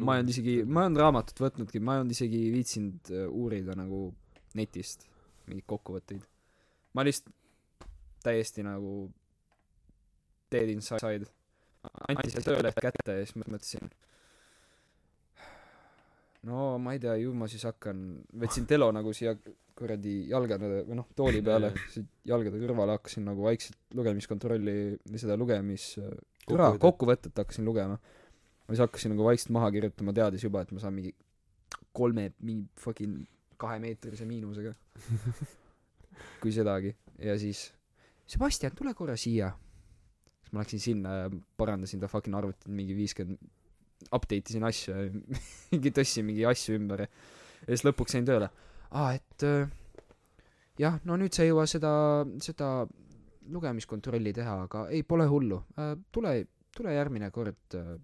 ma ei olnud isegi , ma ei olnud raamatut võtnudki , ma ei olnud isegi viitsinud äh, uurida nagu netist mingeid kokkuvõtteid . ma lihtsalt täiesti nagu dead inside . andsin selle töölehe kätte ja siis ma mõtlesin , no ma ei tea , ju ma siis hakkan , võtsin telo nagu siia kuradi jalgade või noh , tooli peale , jalgade kõrvale hakkasin nagu vaikselt lugemiskontrolli või seda lugemis , äh, kurat , kokkuvõtet hakkasin lugema . ma siis hakkasin nagu vaikselt maha kirjutama , teades juba , et ma saan mingi kolme , mingi fucking kahemeetrise miinusega . kui sedagi . ja siis , Sebastian , tule korra siia . siis ma läksin sinna ja parandasin ta fucking arvutit mingi viiskümmend , update isin asju ja mingi tõstsin mingi asju ümber ja ja siis lõpuks sain tööle . aa , et äh, jah , no nüüd sa ei jõua seda , seda lugemiskontrolli teha , aga ei , pole hullu . tule tule järgmine kord ,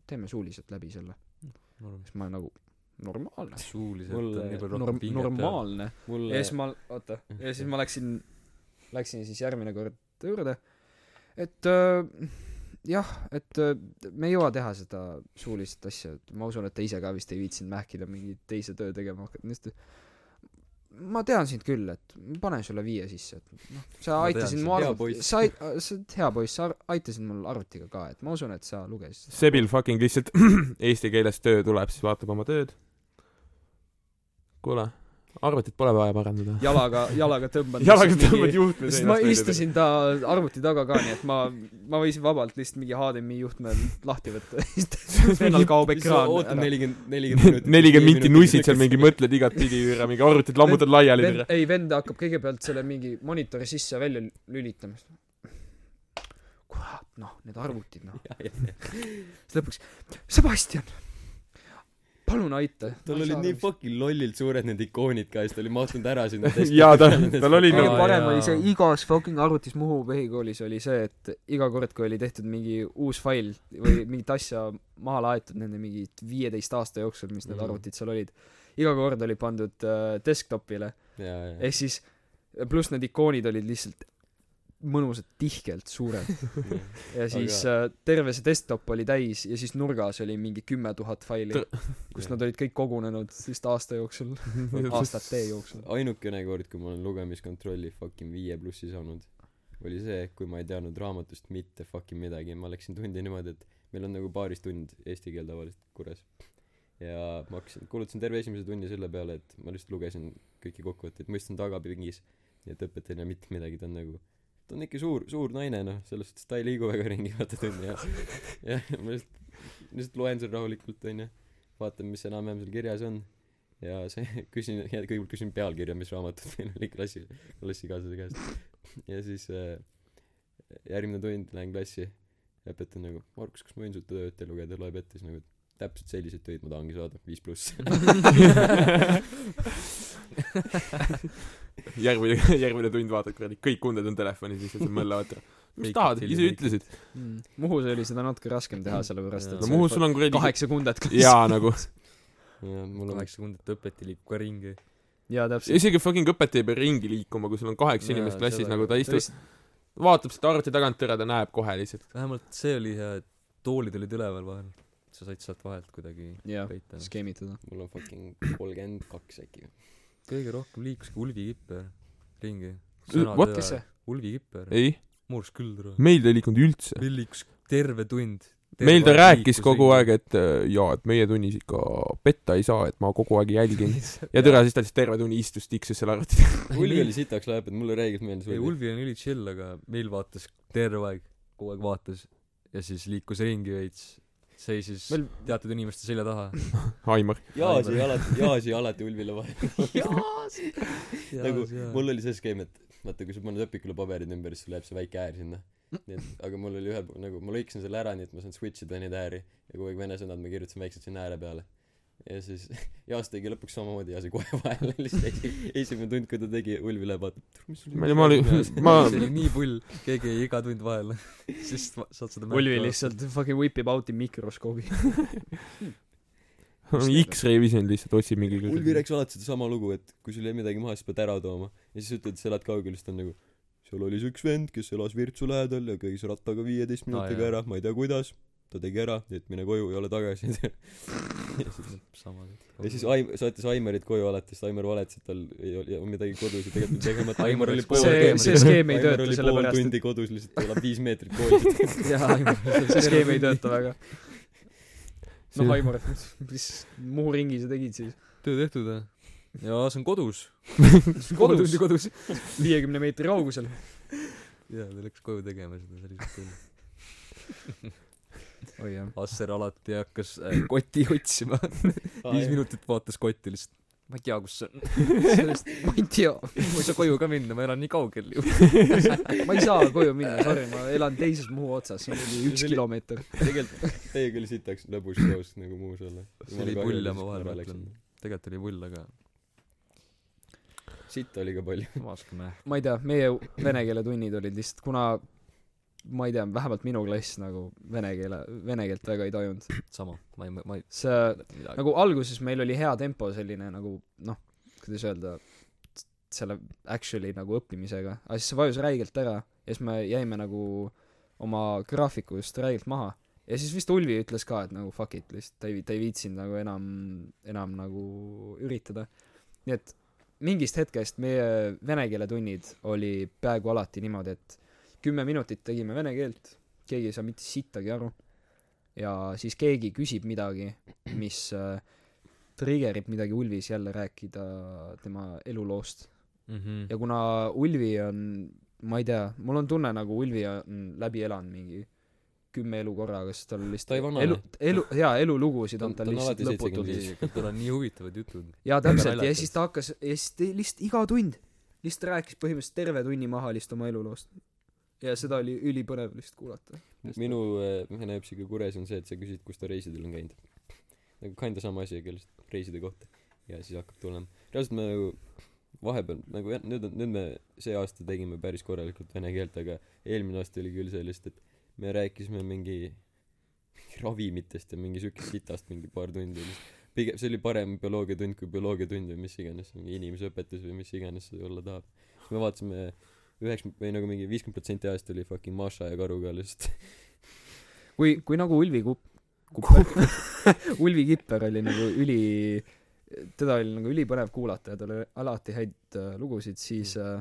teeme suuliselt läbi selle . siis ma olen nagu normaalne .
suuliselt on
Mulle-
nii palju rohkem
Norm- ,
pinget peal .
normaalne . ja
mulle
siis , ma , oota , ja siis ma läksin , läksin siis järgmine kord juurde , et äh, jah , et äh, me ei jõua teha seda suulist asja , et ma usun , et ta ise ka vist ei viitsinud mähkida mingit teise töö tegema hakata , ma tean sind küll , et ma panen sulle viie sisse , et noh , sa
Ma tean
aitasid
sind,
mu
hea
arvut- ,
poiss.
sa ai- , sa oled hea poiss , sa ar- aitasid mul arvutiga ka , et ma usun , et sa lugesid
Sebil fucking lihtsalt eesti keeles töö tuleb , siis vaatab oma tööd . kuule , arvutit pole vaja parandada .
jalaga , jalaga tõmban
jalaga tõmbad juhtme
sest ma . istusin ta arvuti taga ka , nii et ma , ma võisin vabalt lihtsalt mingi HDMI juhtme lahti võtta ja siis vennal kaob
oota
ekraan .
nelikümmend , nelikümmend minutit .
nelikümmend minti nussid seal mingi . mõtled igatpidi üle , mingi arvutid lammutad laiali
vend
üle .,
ei vend hakkab kõigepealt selle mingi monitori sisse ja välja lülitama . kurat noh need arvutid noh
jah , jah ,
siis lõpuks Sebastian palun aita
tal olid nii fucking lollilt suured need ikoonid ka ja siis ta oli mahtunud ära sinna testi
Jaa, ta-
peale.
tal oli
kõige
Aa,
parem
jaa.
oli see igas fucking arvutis Muhu põhikoolis oli see , et iga kord , kui oli tehtud mingi uus fail või mingit asja maha laetud nende mingi viieteist aasta jooksul , mis need
Mhm.
arvutid seal olid , iga kord oli pandud äh, desktopile ,
jaa , jaa
ehk siis pluss need ikoonid olid lihtsalt mõnusad tihkelt suured ja siis äh, terve see desktop oli täis ja siis nurgas oli mingi kümme tuhat faili , kus nad olid kõik kogunenud vist aasta jooksul , aastate jooksul .
ainukene kord , kui ma olen lugemiskontrolli fucking viie plussi saanud , oli see , kui ma ei teadnud raamatust mitte fucking midagi , ma läksin tundi niimoodi , et meil on nagu paaris tund eesti keel tavaliselt Kures . ja ma hakkasin , kulutasin terve esimese tunni selle peale , et ma lihtsalt lugesin kõiki kokkuvõtteid , mõistsin tagapingis , nii et õpetaja ei näe mitte midagi , ta on nagu ta on ikka suur , suur naine noh , selles suhtes ta ei liigu väga ringi , vaata tunni ja ja ma lihtsalt , lihtsalt loen seal rahulikult onju , vaatan , mis enam-vähem seal kirjas on ja see küsin ja kõigepealt küsin pealkirja mis raamatut meil oli klassi klassikaaslase käest ja siis äh, järgmine tund lähen klassi ja õpetaja on nagu Markus kas ma võin su tööd ette lugeda loeb ette siis nagu et täpselt selliseid töid ma tahangi saada viis pluss
järgmine , järgmine tund vaatad kuradi , kõik unded on telefonis lihtsalt , mõtlevad , mis
Kõik
tahad ,
tillid
ise
kõik.
ütlesid .
Mm. Muhus oli seda natuke raskem teha , sellepärast
Jaa.
et
no
see
Muhus sul on kuradi
kaheksa kundet kas-
jaa nagu ,
ja mul on
kaheksa sekundit õpet ja liigub ka ringi .
jaa täpselt
isegi fucking õpetaja ei pea ringi liikuma , kui sul on kaheksa
Jaa,
inimest klassis ,
seda
nagu ta
küll.
istub , vaatab seda arvuti tagantjärele , ta näeb kohe lihtsalt .
vähemalt see oli hea , et toolid olid üleval vahel . sa said sealt vahelt kuidagi
jah
peita . noh.
skeemitada
mul on fucking kolmkümmend kaks äkki
kõige rohkem liikuski Ulvi Kipper ringi .
what?
kes see ?
Ulvi Kipper .
ei ,
murus küll tore .
meil ta ei liikunud üldse .
meil liikus terve tund .
meil ta rääkis kogu aeg , et äh, jaa , et meie tunnis ikka petta ei saa , et ma kogu aeg jälgin . ja tere , siis ta lihtsalt terve tunni istus , tiksus seal arvuti taga .
Ulvi oli sitaks läheb et mulle räägib meeldis
ei ,
Ulvi
Ulvi on üli chill , aga meil vaatas terve aeg , kogu aeg vaatas ja siis liikus ringi veits , seisis meil...
Meil-
teatud inimeste selja taha .
Aimar .
jaasi alati jaasi alati Ulvile vahel nagu
mul
mul oli see skeem , et vaata , kui sa paned õpikule paberid ümber , siis sul läheb see väike äär sinna . nii et , aga mul oli ühe , nagu ma lõikasin selle ära , nii et ma saan switch ida neid ääri ja kogu aeg vene sõnad ma kirjutasin väikselt sinna ääre peale . ja siis Jaas tegi lõpuks samamoodi ja see kohe vahele lihtsalt esi- esimene tund , kui ta tegi , Ulvi läheb vaatab , mis sul
ma olin , ma ,
see oli nii pull , keegi jäi iga tund vahele , sest ma- saad seda
Ulvi . lihtsalt fucking whip ib out'i mikroskoobi
X-Ray Vision lihtsalt otsib mingi
Ulvi rääkis alati sedasama lugu , et kui sul jäi midagi maha , siis pead ära tooma . ja siis ütled , sa elad kaugel , siis ta on nagu seal oli see üks vend , kes elas Virtsu lähedal ja käis rattaga viieteist minutiga
jaa.
ära , ma ei tea , kuidas . ta tegi ära , nii et mine koju , ei ole tagasi .
sama .
ja siis Aim- , saatis Aimarit koju alati , sest Aimar valetas , et tal ei ole midagi kodus ja tegelikult oli tegemata . Aimar
Aimar
oli
läks
pool
koju.
tundi
See- see
skeem ei tööta
Aimar oli pool
sellepärast, et-
tundi kodus lihtsalt elab viis meetrit koolis .
jaa see skeem ei tööta väga noh Aimar mis Muhu ringi sa tegid siis
töö tehtud või ? jaa , see on kodus .
kolm tundi kodus viiekümne meetri kaugusel
jaa , ta läks koju tegema seda sellist tööd .
oi Oh, jah
Asser alati hakkas äh, kotti otsima , viis minutit vaatas kotti lihtsalt . ma ei tea , kus see on .
sellest ma ei tea
ma ei saa koju ka minna , ma elan nii kaugel ju .
ma ei saa koju minna sorry ma elan teises Muhu otsas see on mingi üks
See oli-
kilomeeter
tegelikult teiega oli sitaks lõbus koos nagu muus olla .
see oli pull ja ma vahel mõtlen . tegelikult oli pull , aga
sitt oli ka palju .
vaatame .
ma ei tea meie vene keele tunnid olid lihtsalt kuna ma ei tea vähemalt minu klass nagu vene keele vene keelt väga ei tajunud
sama , ma ei , ma ei
see
mäleta midagi .
nagu alguses meil oli hea tempo selline nagu noh kuidas öelda s- selle actually nagu õppimisega aga siis see vajus räigelt ära ja siis me jäime nagu oma graafikust räigelt maha ja siis vist Ulvi ütles ka et nagu fuck it lihtsalt ta ei vi- ta ei viitsinud nagu enam enam nagu üritada nii et mingist hetkest meie vene keele tunnid oli peaaegu alati niimoodi et kümme minutit tegime vene keelt keegi ei saa mitte sittagi aru ja siis keegi küsib midagi mis äh, trigerib midagi Ulvis jälle rääkida tema eluloost
Mhm.
ja kuna Ulvi on ma ei tea mul on tunne nagu Ulvi on läbi elanud mingi kümme elu korraga sest tal
Ta ei
lihtsalt
vanane.
elu elu jaa elulugusid on
Ta- ta
tal
on
lihtsalt
alati
lõputult
75.
tal on nii huvitavad jutud .
jaa täpselt ja
naljakas.
siis ta hakkas ja siis ta lihtsalt iga tund lihtsalt rääkis põhimõtteliselt terve tunni maha lihtsalt oma eluloost ja seda oli ülipõnev lihtsalt kuulata .
minu äh, ühe näipsiga kures on see , et sa küsid , kus ta reisidel on käinud . nagu kinda sama asi , aga lihtsalt reiside kohta . ja siis hakkab tulema . reaalselt me nagu vahepeal nagu jah , nüüd on , nüüd me see aasta tegime päris korralikult vene keelt , aga eelmine aasta oli küll sellist , et me rääkisime mingi mingi ravimitest ja mingi siukest sitast mingi paar tundi ja siis pigem see oli parem bioloogiatund kui bioloogiatund või mis iganes mingi inimeseõpetus või mis iganes see olla tahab siis me vaatasime üheksakümmend või nagu mingi viiskümmend protsenti ajast oli fucking Maša ja Karuga lihtsalt
kui , kui nagu Ulvi Kup- , Kuper , Ulvi Kipper oli nagu üli , teda oli nagu ülipõnev kuulata ja tal oli alati häid äh, lugusid , siis äh,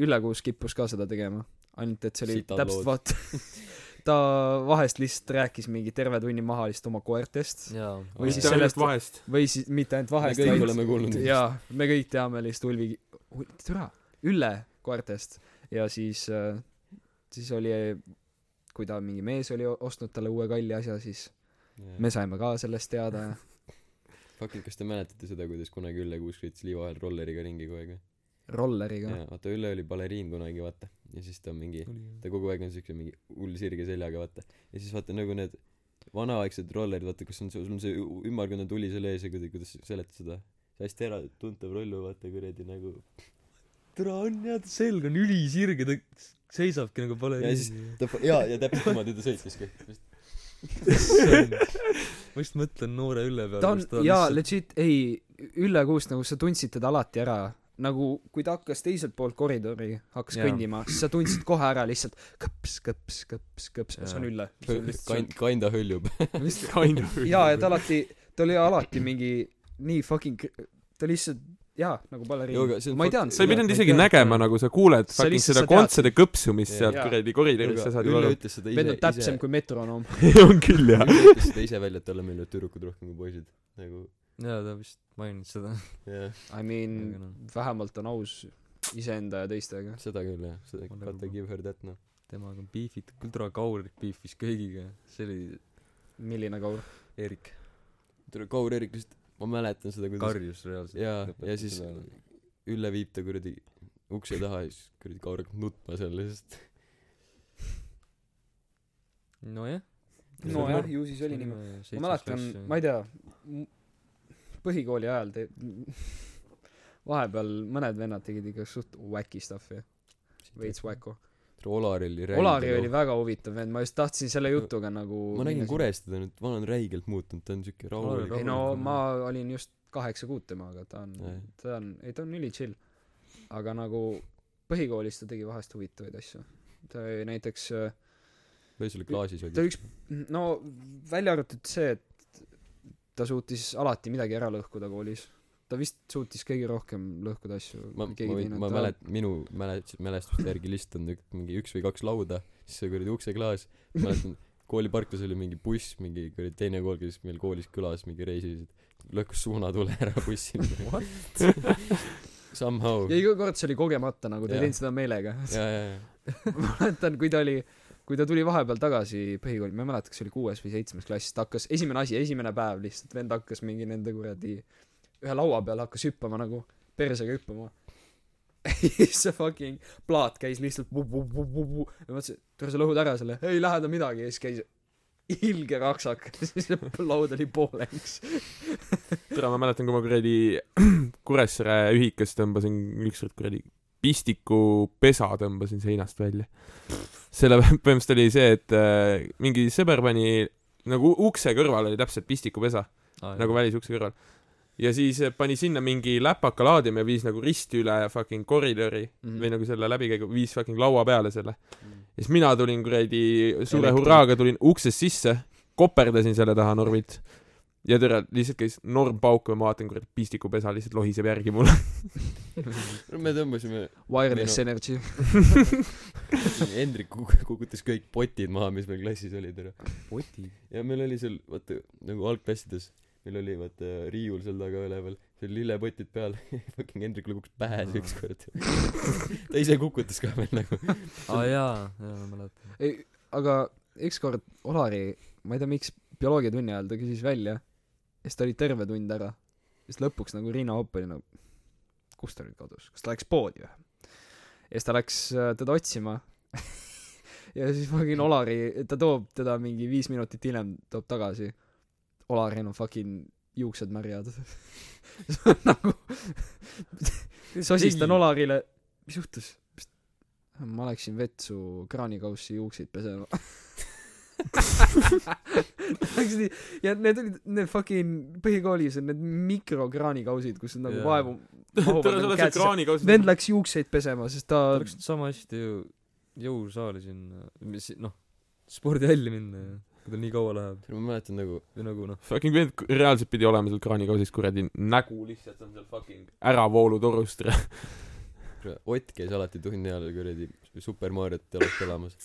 Ülle Kuusk kippus ka seda tegema . ainult et see oli
Sitad
täpselt
lood.
vaata , ta vahest lihtsalt rääkis mingi terve tunni maha lihtsalt oma koertest
jaa .
Või siis
mitte ainult
sellest-
vahest .
või siis mitte ainult vahest ,
Me kõik oleme kuulnud neist.
jaa , me kõik teame lihtsalt Ulvi , türa , Ülle koertest ja siis , siis oli , kui ta mingi mees oli o- ostnud talle uue kalli asja , siis me saime ka sellest teada ja
fucking kas te mäletate seda kuidas kunagi Ülle Kuusk sõitis liiva vahel rolleriga ringi kogu aeg või
rolleriga .
jaa vaata Ülle oli baleriin kunagi vaata ja siis ta mingi ta kogu aeg on siukse mingi hull sirge seljaga vaata ja siis vaata nagu need vanaaegsed rollerid vaata kus on see sul on see ü- ümmargune tuli seal ees ja kuidagi kuidas seletad seda see hästi äratuntav rollu vaata kuradi nagu
türa on jah , ta selg on ülisirge , ta seisabki nagu
ja siis
baleriin .
ta fa- jaa ja täpselt niimoodi ta sõitiski
ma just mõtlen noore Ülle peale .
ta on , jaa , legit , ei , Ülle Kuusk , nagu sa tundsid teda alati ära . nagu , kui ta hakkas teiselt poolt koridori , hakkas
Jaa.
kõndima , siis sa tundsid kohe ära lihtsalt kõps , kõps , kõps , kõps , see
Jaa.
on Ülle .
kind- kinda hõljub
jaa , ja ta alati , ta oli alati mingi nii fucking , ta lihtsalt , jaa , nagu
Joo, aga see
baleriin
on .
ma ei
fakt-
teadnud
sa ei pidanud
ma ei
isegi
tea.
nägema , nagu sa kuuled
Sa
fucking
lihtsalt-
seda
sa tead
kontserdi kõpsumist sealt
Jaa.
kuradi koridoris , sa saad ju
Ülle
aru .
ütles seda
vend
noh, ise
on täpsem kui metronoom .
see on küll jah .
Ülle ütles seda ise välja , et talle meeldivad tüdrukud rohkem kui poisid . nagu
jaa , ta vist mainis seda .
jah ,
Mm. noh.
I mean , vähemalt on aus iseenda ja teistega .
seda küll jah , seda
Ma
gotta
nagu-
give her that noh .
temaga on beefid , küll tore Kaur beefis kõigiga . see oli
milline kaur .
Erik .
tule Kaur Erik lihtsalt , ma mäletan seda , kuidas
karjus reaalselt .
jaa , ja siis Ülle viib ta kuradi ukse taha ja siis kuradi Kaur hakkab nutma seal lihtsalt .
nojah .
nojah , ju siis oli niimoodi . ma mäletan , ma ei tea , põhikooli ajal te- , vahepeal mõned vennad tegid ikka suht wacki stuff'i , veits . wacko .
Olari oli
Olari oli . väga huvitav vend , ma just tahtsin selle jutuga nagu
ma nägin . Kurest teda nüüd , vana on räigelt muutunud , ta on siuke
Olari
rahulik
ka-
ei no ma olin just kaheksa kuud temaga , ta
Jah.
on , ta on , ei ta on üli chill . aga nagu põhikoolis ta tegi vahest huvitavaid asju . ta oli näiteks ,
või selle klaasis
ta
oli .
oli üks , no välja arvatud see , et ta suutis alati midagi ära lõhkuda koolis . ta vist suutis kõige rohkem lõhkuda asju .
ma , ma võin , ma mälet- , minu mälet- , mälestuste järgi lihtsalt on ük- mingi üks või kaks lauda , siis see kuradi ukseklaas , mäletan , kooliparklas oli mingi buss , mingi kuradi teine kool , kes meil koolis külas mingi reisis , lõhkus suunatule ära bussil . Somehow .
ja
jaa ,
iga kord see oli kogemata nagu , ta
Jah.
ei teinud seda meelega .
jaa , jaa .
ma mäletan , kui ta oli , kui ta tuli vahepeal tagasi põhikooli , ma ei mäleta , kas see oli kuues või seitsmes klass , ta hakkas , esimene asi , esimene päev lihtsalt , vend hakkas mingi nende kuradi ühe laua peal hakkas hüppama nagu , persega hüppama . see fucking plaat käis lihtsalt vu-vu-vu-vu-vu ja ma mõtlesin , et tule sa lõhud ära selle , ei lähe ta midagi ja siis käis ilge raksak , siis see laud oli pooleks .
tere , ma mäletan , kui ma kuradi Kuressaare ühikas tõmbasin ükskord kuradi pistiku pesa tõmbasin seinast välja . selle põhimõtteliselt oli see , et äh, mingi sõber pani nagu ukse kõrval oli täpselt pistiku pesa ,
tea
nagu välisukse kõrval . ja siis äh, pani sinna mingi läpaka laadima ja viis nagu risti üle fucking koridori
Mhm.
mm. või nagu selle läbikäigu , viis fucking laua peale selle . ja siis mina tulin kuradi suure
Elektri-
hurraaga tulin uksest sisse , koperdasin selle taha Normit ja tere , lihtsalt käis norm pauku ja ma vaatan , kuradi pistikupesa lihtsalt lohiseb järgi mulle .
no me tõmbasime ,
Wireless energy .
Hendrik kuk- kukutas kõik potid maha , mis meil klassis olid , ära .
poti .
ja meil oli seal vaata nagu algklassides meil oli vaata riiul seal taga üleval seal lillepotid peal fucking Hendrik lukus pähe see ükskord ta ise kukutas ka veel nagu
aa jaa , jaa ma mäletan .
ei , aga ükskord Olari , ma ei tea , miks bioloogiatunni ajal ta küsis välja ja siis ta oli terve tund ära . siis lõpuks nagu Riina Hopp oli nagu , kus ta nüüd kadus , kas ta läks poodi või ? ja siis ta läks äh, teda otsima ja siis fucking Olari , ta toob teda mingi viis minutit hiljem , toob tagasi . Olaril on fucking juuksed märjad . see on nagu , sosistan
Ei.
Olarile , mis juhtus ? ma läksin vetsu kraanikaussi juukseid pesema . Läksid nii , ja need olid , need fucking põhikoolis on need mikrokraanikausid , kus on nagu
Jaa.
yeah. vaevu nagu
tere , sa oled seal . kraanikausis .
vend läks juukseid pesema , sest ta
oleks võinud sama hästi ju jõusaali sinna , mis noh , spordihalli minna ja kui tal nii kaua läheb
ma mäletan nagu
või nagu noh ,
fucking vend k- reaalselt pidi olema seal kraanikausis , kuradi nägu lihtsalt on seal fucking äravoolutorust .
kurat, Ott käis alati tunni ajal kuradi Super Mariot telost elamas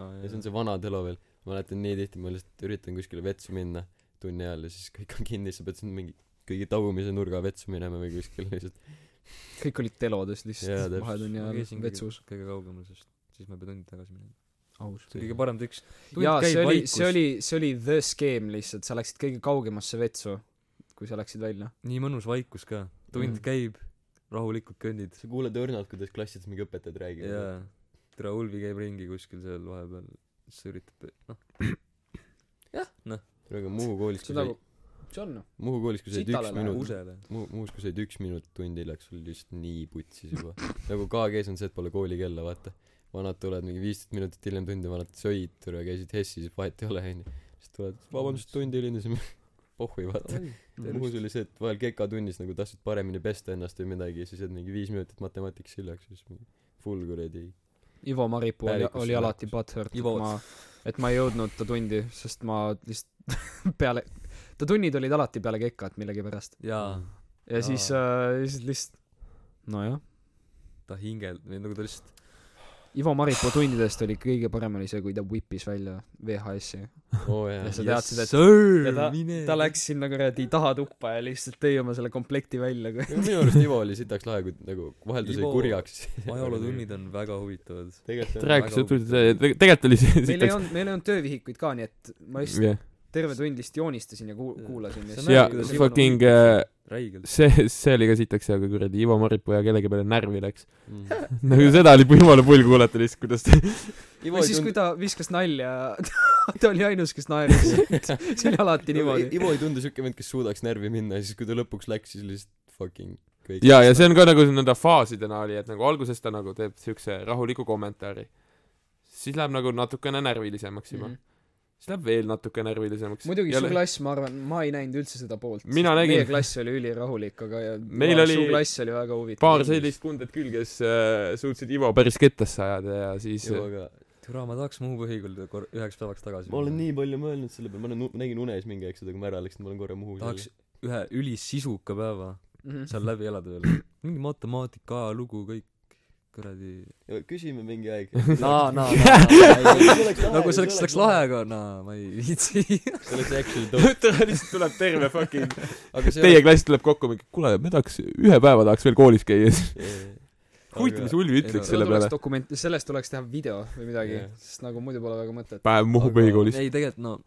aa
ja see on
jaa ,
see vana telo veel ma mäletan nii tihti ma lihtsalt üritan kuskile vetsu minna tunni ajal ja siis kõik on kinni sa pead sinna mingi kõige tagumise nurga vetsu minema või kuskil lihtsalt
kõik olid telodes
Jaa,
lihtsalt
täpselt.
vahetunni
ma
ajal
käisin
vetsus
kõige, kõige kaugemal , sest siis ma ei pea tundi tagasi minema .
aus
see oli kõige parem triks .
jaa see oli see oli see oli the skeem lihtsalt sa läksid kõige kaugemasse vetsu kui sa läksid välja
nii mõnus vaikus ka , tund
Mhm.
käib , rahulikult kõndid
sa kuuled õrnalt kuidas klassides mingi õpetajad räägivad
jaa , tere Ulvi käib ringi kuskil seal vahepeal , siis ta üritab , noh , jah , noh ,
aga Muhu koolis kui
see on
sai
nagu see on
Muhu koolis kui said
Sitale
üks
läheb.
minut
usele .
Mu- Muhus , kui said üks minut tundi , läks sul lihtsalt nii putsis juba . nagu KG-s on see , et pole koolikella , vaata . vanad tulevad mingi viisteist minutit hiljem tundi , vanad sõid , tule käisid Hessis , vahet ei ole , onju . siis tulevad , vabandust , tundi hilinesime . pohhui , vaata . Muhus oli see , et vahel keka tunnis nagu tahtsid paremini pesta ennast või midagi ja siis jäid mingi viis minutit matemaatikas hiljaks , siis mingi full kuradi .
Ivo Maripuu oli
Päevikus
oli
ja
alati
päevikus.
butthurt et
Ivo
ma et ma ei jõudnud ta tundi sest ma lihtsalt peale ta tunnid olid alati peale kekat millegipärast
jaa ,
ja
Jaa.
siis äh, siis lihtsalt nojah
ta hingel- , või nagu ta lihtsalt ,
Ivo Maripuu tundidest oli kõige parem oli see kui ta whip'is välja VHS-i
oo jaa
ja . sa teadsid et ja ta-
mine
ta . läks sinna kuradi taha tuppa ja lihtsalt tõi oma selle komplekti välja kui
minu arust Ivo oli sitaks lahe , kui nagu vahel ta sai
Ivo-
kurjaks .
ajalootunnid on väga huvitavad .
tegelikult
ta
on .
rääkis suhteliselt , tegelikult oli see
meil ei
sitaks .
olnud meil ei olnud töövihikuid ka nii et ma just
jah ,
terve tund lihtsalt joonistasin ja kuul-
Jaa.
kuulasin
See
ja
on
siis
hea,
ja
kuidas Ivo
fucking
Nurmi-
äh,
räigelt .
see , see oli ka sitaks hea , kui kuradi Ivo Maripuu ja kellegi peale närvi läks .
Mm.
nagu seda oli jumala pull kuulata lihtsalt , kuidas ta
Ivo
või
ei
siis kui
tund-
ta viskas nalja ta oli ainus kes naeris see oli alati niimoodi
Ivo ei tundu siuke vend , kes suudaks närvi minna ja siis , kui ta lõpuks läks , siis lihtsalt fucking kõik
ja , ja see on ka nagu nende faasidena oli , et nagu alguses ta nagu teeb siukse rahuliku kommentaari . siis läheb nagu natukene närvilisemaks juba mm .
Mhm.
-hmm. siis läheb veel natuke närvilisemaks .
muidugi su klass ma arvan ma ei näinud üldse seda poolt
Mina
sest
nägin.
meie klass oli ülirahulik aga ja
Meil
ja
oli
su klass oli väga huvitav
paar sellist kundet küll , kes äh, suutsid Ivo päris kettasse ajada ja siis
Ivo ka
türa , ma tahaks Muhu põhikooli kor- , üheks päevaks tagasi
ma olen nii palju mõelnud selle peale , ma olen , ma nägin unes mingi aeg seda , kui ma ära läksin , ma olen korra Muhus
tahaks ühe ülisisuka päeva seal
Mhm.
läbi elada veel . mingi matemaatika , ajalugu , kõik kuradi
jälle . küsime mingi aeg .
naa , naa ,
Ei,
naa ,
see oleks lahe,
naa . nagu
see
see oleks , see oleks
oleks
lahe , aga naa , ma ei viitsi .
see oleks actually dope ,
ta lihtsalt tuleb terve fucking
aga see
teie klass tuleb kokku mingi kuule , me tahaks , ühe päeva tahaks veel koolis käia . huvitav , mis Ulvi
Ei no,
ütleks
seda
selle
tuleks
peale .
dokument- sellest tuleks teha video või midagi
Jah.
sest nagu muidu pole väga mõtet
päev Muhu põhikoolis .
ei , tegelikult no ,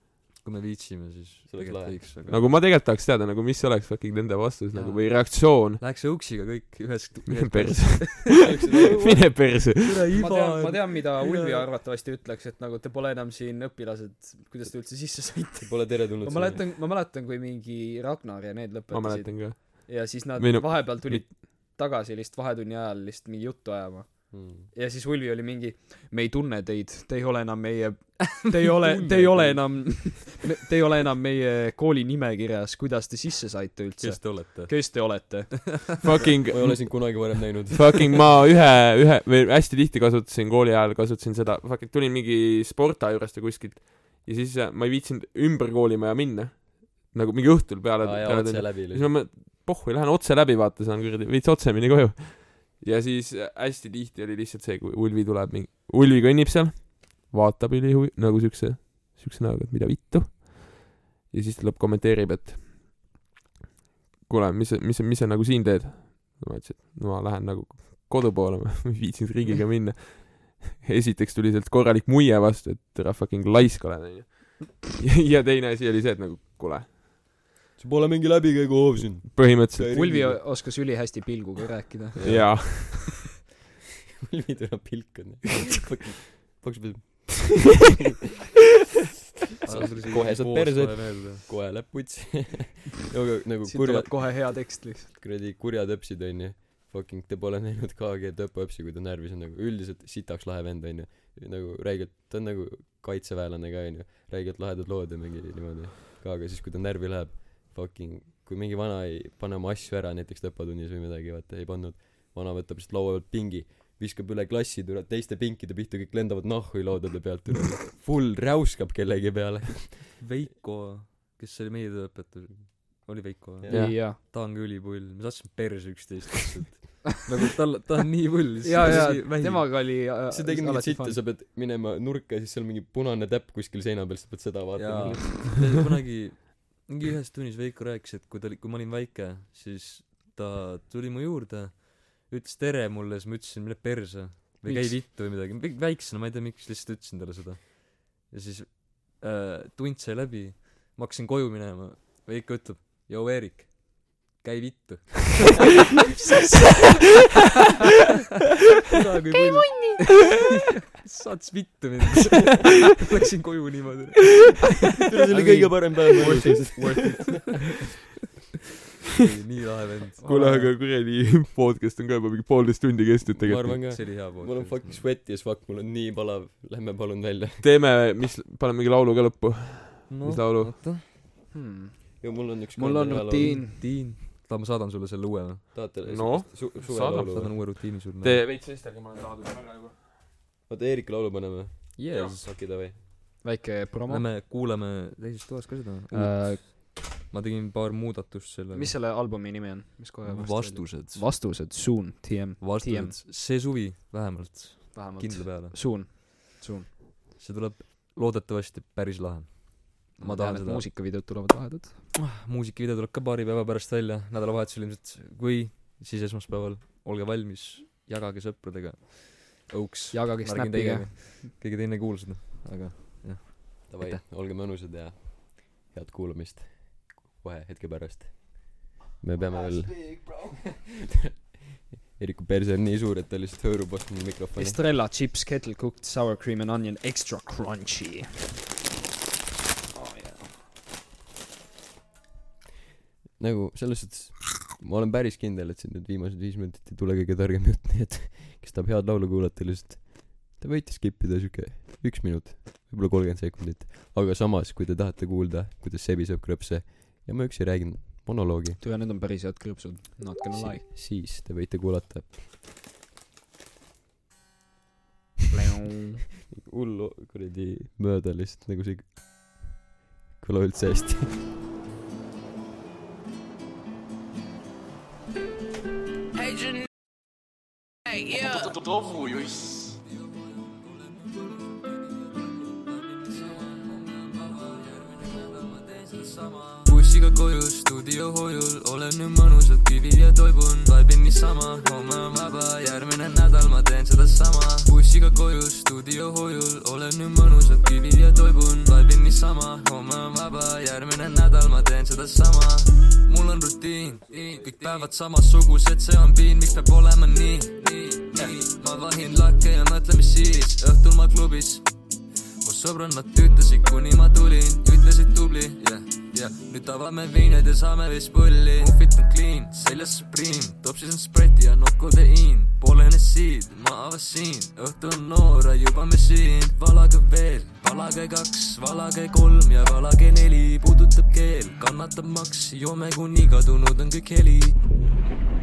kui me viitsime , siis
See oleks
tegelikult
lahe.
võiks , aga
nagu ma tegelikult tahaks teada nagu , mis oleks fucking nende vastus
Jaa.
nagu või reaktsioon .
läheks õuksiga kõik ühes
mine . perse , mine perse .
tere ,
ma
Ivo
tean , ma tean , mida
Mina-
Ulvi arvatavasti ütleks , et nagu te pole enam siin õpilased , kuidas te üldse sisse saite .
pole teretulnud
ma . mäletan , ma mäletan , kui mingi Ragnar ja need
ma
lõpetasid
mäletan ka .
ja siis nad
Või no-
vahepeal tulid tagasi lihtsalt vahetunni ajal lihtsalt mingi juttu ajama .
Hmm.
ja siis Ulvi oli mingi , me ei tunne teid , te ei ole enam meie , te ei ole , te ei ole enam , te ei ole enam meie kooli nimekirjas , kuidas te sisse saite üldse
kes ? te olete ?
kes te olete ?
Fucking
ma ei ole sind kunagi varem näinud .
fucking ma ühe , ühe või hästi tihti kasutasin kooli ajal , kasutasin seda , fucking tulin mingi sporta juurest või kuskilt ja siis äh, ma ei viitsinud ümber koolimaja minna . nagu mingi õhtul peale ,
aa jaa ,
peale
otse
tundi .
läbi
siis ma mõtlen , pohhu , lähen otse läbi , vaata , saan kuradi veits otsemini koju . ja siis äh, hästi tihti oli lihtsalt see , kui Ulvi tuleb mingi , Ulvi kõnnib seal , vaatab ülihuvi- , nagu siukse , siukse näoga , et mida vittu . ja siis tuleb , kommenteerib , et kuule , mis sa , mis sa , mis sa nagu siin teed ? ma ütlesin , et no ma lähen nagu kodu poole , ma ei viitsinud ringiga minna . esiteks tuli sealt korralik muie vastu , et ära fucking laisk oled , onju . ja teine asi oli see , et nagu kuule ,
lihtsalt . see pole mingi läbikäiguhoov siin .
põhimõtteliselt
Ulvi oskas ülihästi pilguga rääkida .
jaa .
Ulvi tuleb pilk onju . Paks peab kohe saad perse , kohe läheb putsi . aga nagu
siin
kurjad
tuleb , kohe hea tekst lihtsalt .
kuradi kurjad öpsid onju fucking te pole näinud KG töpuöpsi kui ta närvis on nagu üldiselt sitaks lahe vend onju nagu räigelt ta on nagu kaitseväelane ka onju räigelt lahedad lood ja mingi niimoodi ka aga siis kui ta närvi läheb fucking kui mingi vana ei pane oma asju ära näiteks tõpatunnis või midagi vaata ei pannud vana võtab lihtsalt laua pealt pingi viskab üle klassi tule teiste pinkide pihta kõik lendavad nahhu laudade pealt üle full räuskab kellegi peale
Veiko , kes oli meie tööõpetaja , oli Veiko või ?
Jah.
jaa .
ta on ka ülipull , me tahtsime perse üksteist lihtsalt . nagu tal , ta on nii pull .
jaa , jaa , temaga oli äh,
see tegi mingit
alati
sitta
fun.
sa pead minema nurka ja siis seal mingi punane täpp kuskil seina peal sa pead seda
jaa
vaatama ,
kunagi mingi ühes tunnis Veiko rääkis , et kui ta oli , kui ma olin väike , siis ta tuli mu juurde , ütles tere mulle , siis ma ütlesin mine perse või käi
Miks?
vittu või midagi , väiksena ma ei tea miks , lihtsalt ütlesin talle seda . ja siis äh, tund sai läbi , ma hakkasin koju minema , Veiko ütleb , joo Eerik , käi vittu . käi munni . saats vittu mind . Läksin koju niimoodi .
see oli kõige parem päev mu elus .
nii lahe vend .
kuule , aga kuradi podcast on ka juba mingi poolteist tundi kestnud
ma
tegelikult .
arvan ka .
see oli hea pool .
mul on fucking . sweat ja fuck , mul on nii palav , lähme palun välja .
teeme , mis , paneme mingi laulu ka lõppu . mis laulu? ?
Hmm.
ja mul on üks
mul on rutiin .
Tiin . tahad , ma saadan sulle selle uue või ?
tahate
No,
su- ,
saadab,
suvelaulu
saadan
või ?
uue rutiini sulle .
Tee veits vestelge , ma olen saadud ära juba .
nagu-
oota , Eerik laulu paneme .
Yes .
okei , davai .
väike promo .
Lähme kuulame teises toas ka seda uut .
Äh,
ma tegin paar muudatust sellele .
mis selle albumi nimi on , mis kohe varsti oli?
vastused ?
vastused , Soon , TM , TM.
vastused . see suvi vähemalt .
vähemalt .
kindla peale .
Soon , Soon .
see tuleb loodetavasti päris lahe . ma tahan seda .
muusikavideod tulevad lahedad .
muusikavideo tuleb ka paari päeva pärast välja , nädalavahetusel ilmselt , kui siis esmaspäeval , olge valmis , jagage sõpradega . õuks .
jagage Snappiga .
keegi teine ei kuule seda , aga
davai
Aitäh. ,
olge mõnusad ja head kuulamist . kohe hetke pärast . me peame veel . Eeriku perse on nii suur , et ta lihtsalt hõõrub vastu mu mikrofoni .
Estrella chips kettle cooked sour cream and onion extra crunchy . Oh,
nagu selles suhtes ma olen päris kindel , et siin need viimased viis minutit ei tule kõige targem jutt , nii et kes tahab head laulu kuulata , lihtsalt te võite skip ida siuke üks minut , võib-olla kolmkümmend sekundit , aga samas , kui te tahate kuulda , kuidas Sebi sööb krõpse ja ma üksi räägin monoloogi ,
tule , need on päris head krõpsud . Not gonna lie .
si- siis te võite kuulata hullu kuradi mööda lihtsalt nagu see ei kõla üldse hästi .
Hey, Jan- Hey, yeah.
bussiga koju , stuudio hoiul , olen nüüd mõnusalt kivil ja toibun , vaibin niisama , homme on vaba , järgmine nädal ma teen sedasama . bussiga koju , stuudio hoiul , olen nüüd mõnusalt kivil ja toibun , vaibin niisama , homme on vaba , järgmine nädal ma teen sedasama . mul on rutiin , kõik päevad samasugused , see on piin , miks peab olema nii, nii ? ma vahin lakke ja mõtlen , mis siis , õhtul ma klubis mu sõbrannad tüütasid , kuni ma tulin , ütlesid tubli , jah , jah . nüüd avame viined ja saame vist pulli . muhvit on clean , seljas Supreme , topsis on spreti ja nokodeiin . poolene siid , ma avasin , õhtu on noor ja juba me siin . valage veel , valage kaks , valage kolm ja valage neli . puudutab keel , kannatab maks , joome kuni kadunud on kõik heli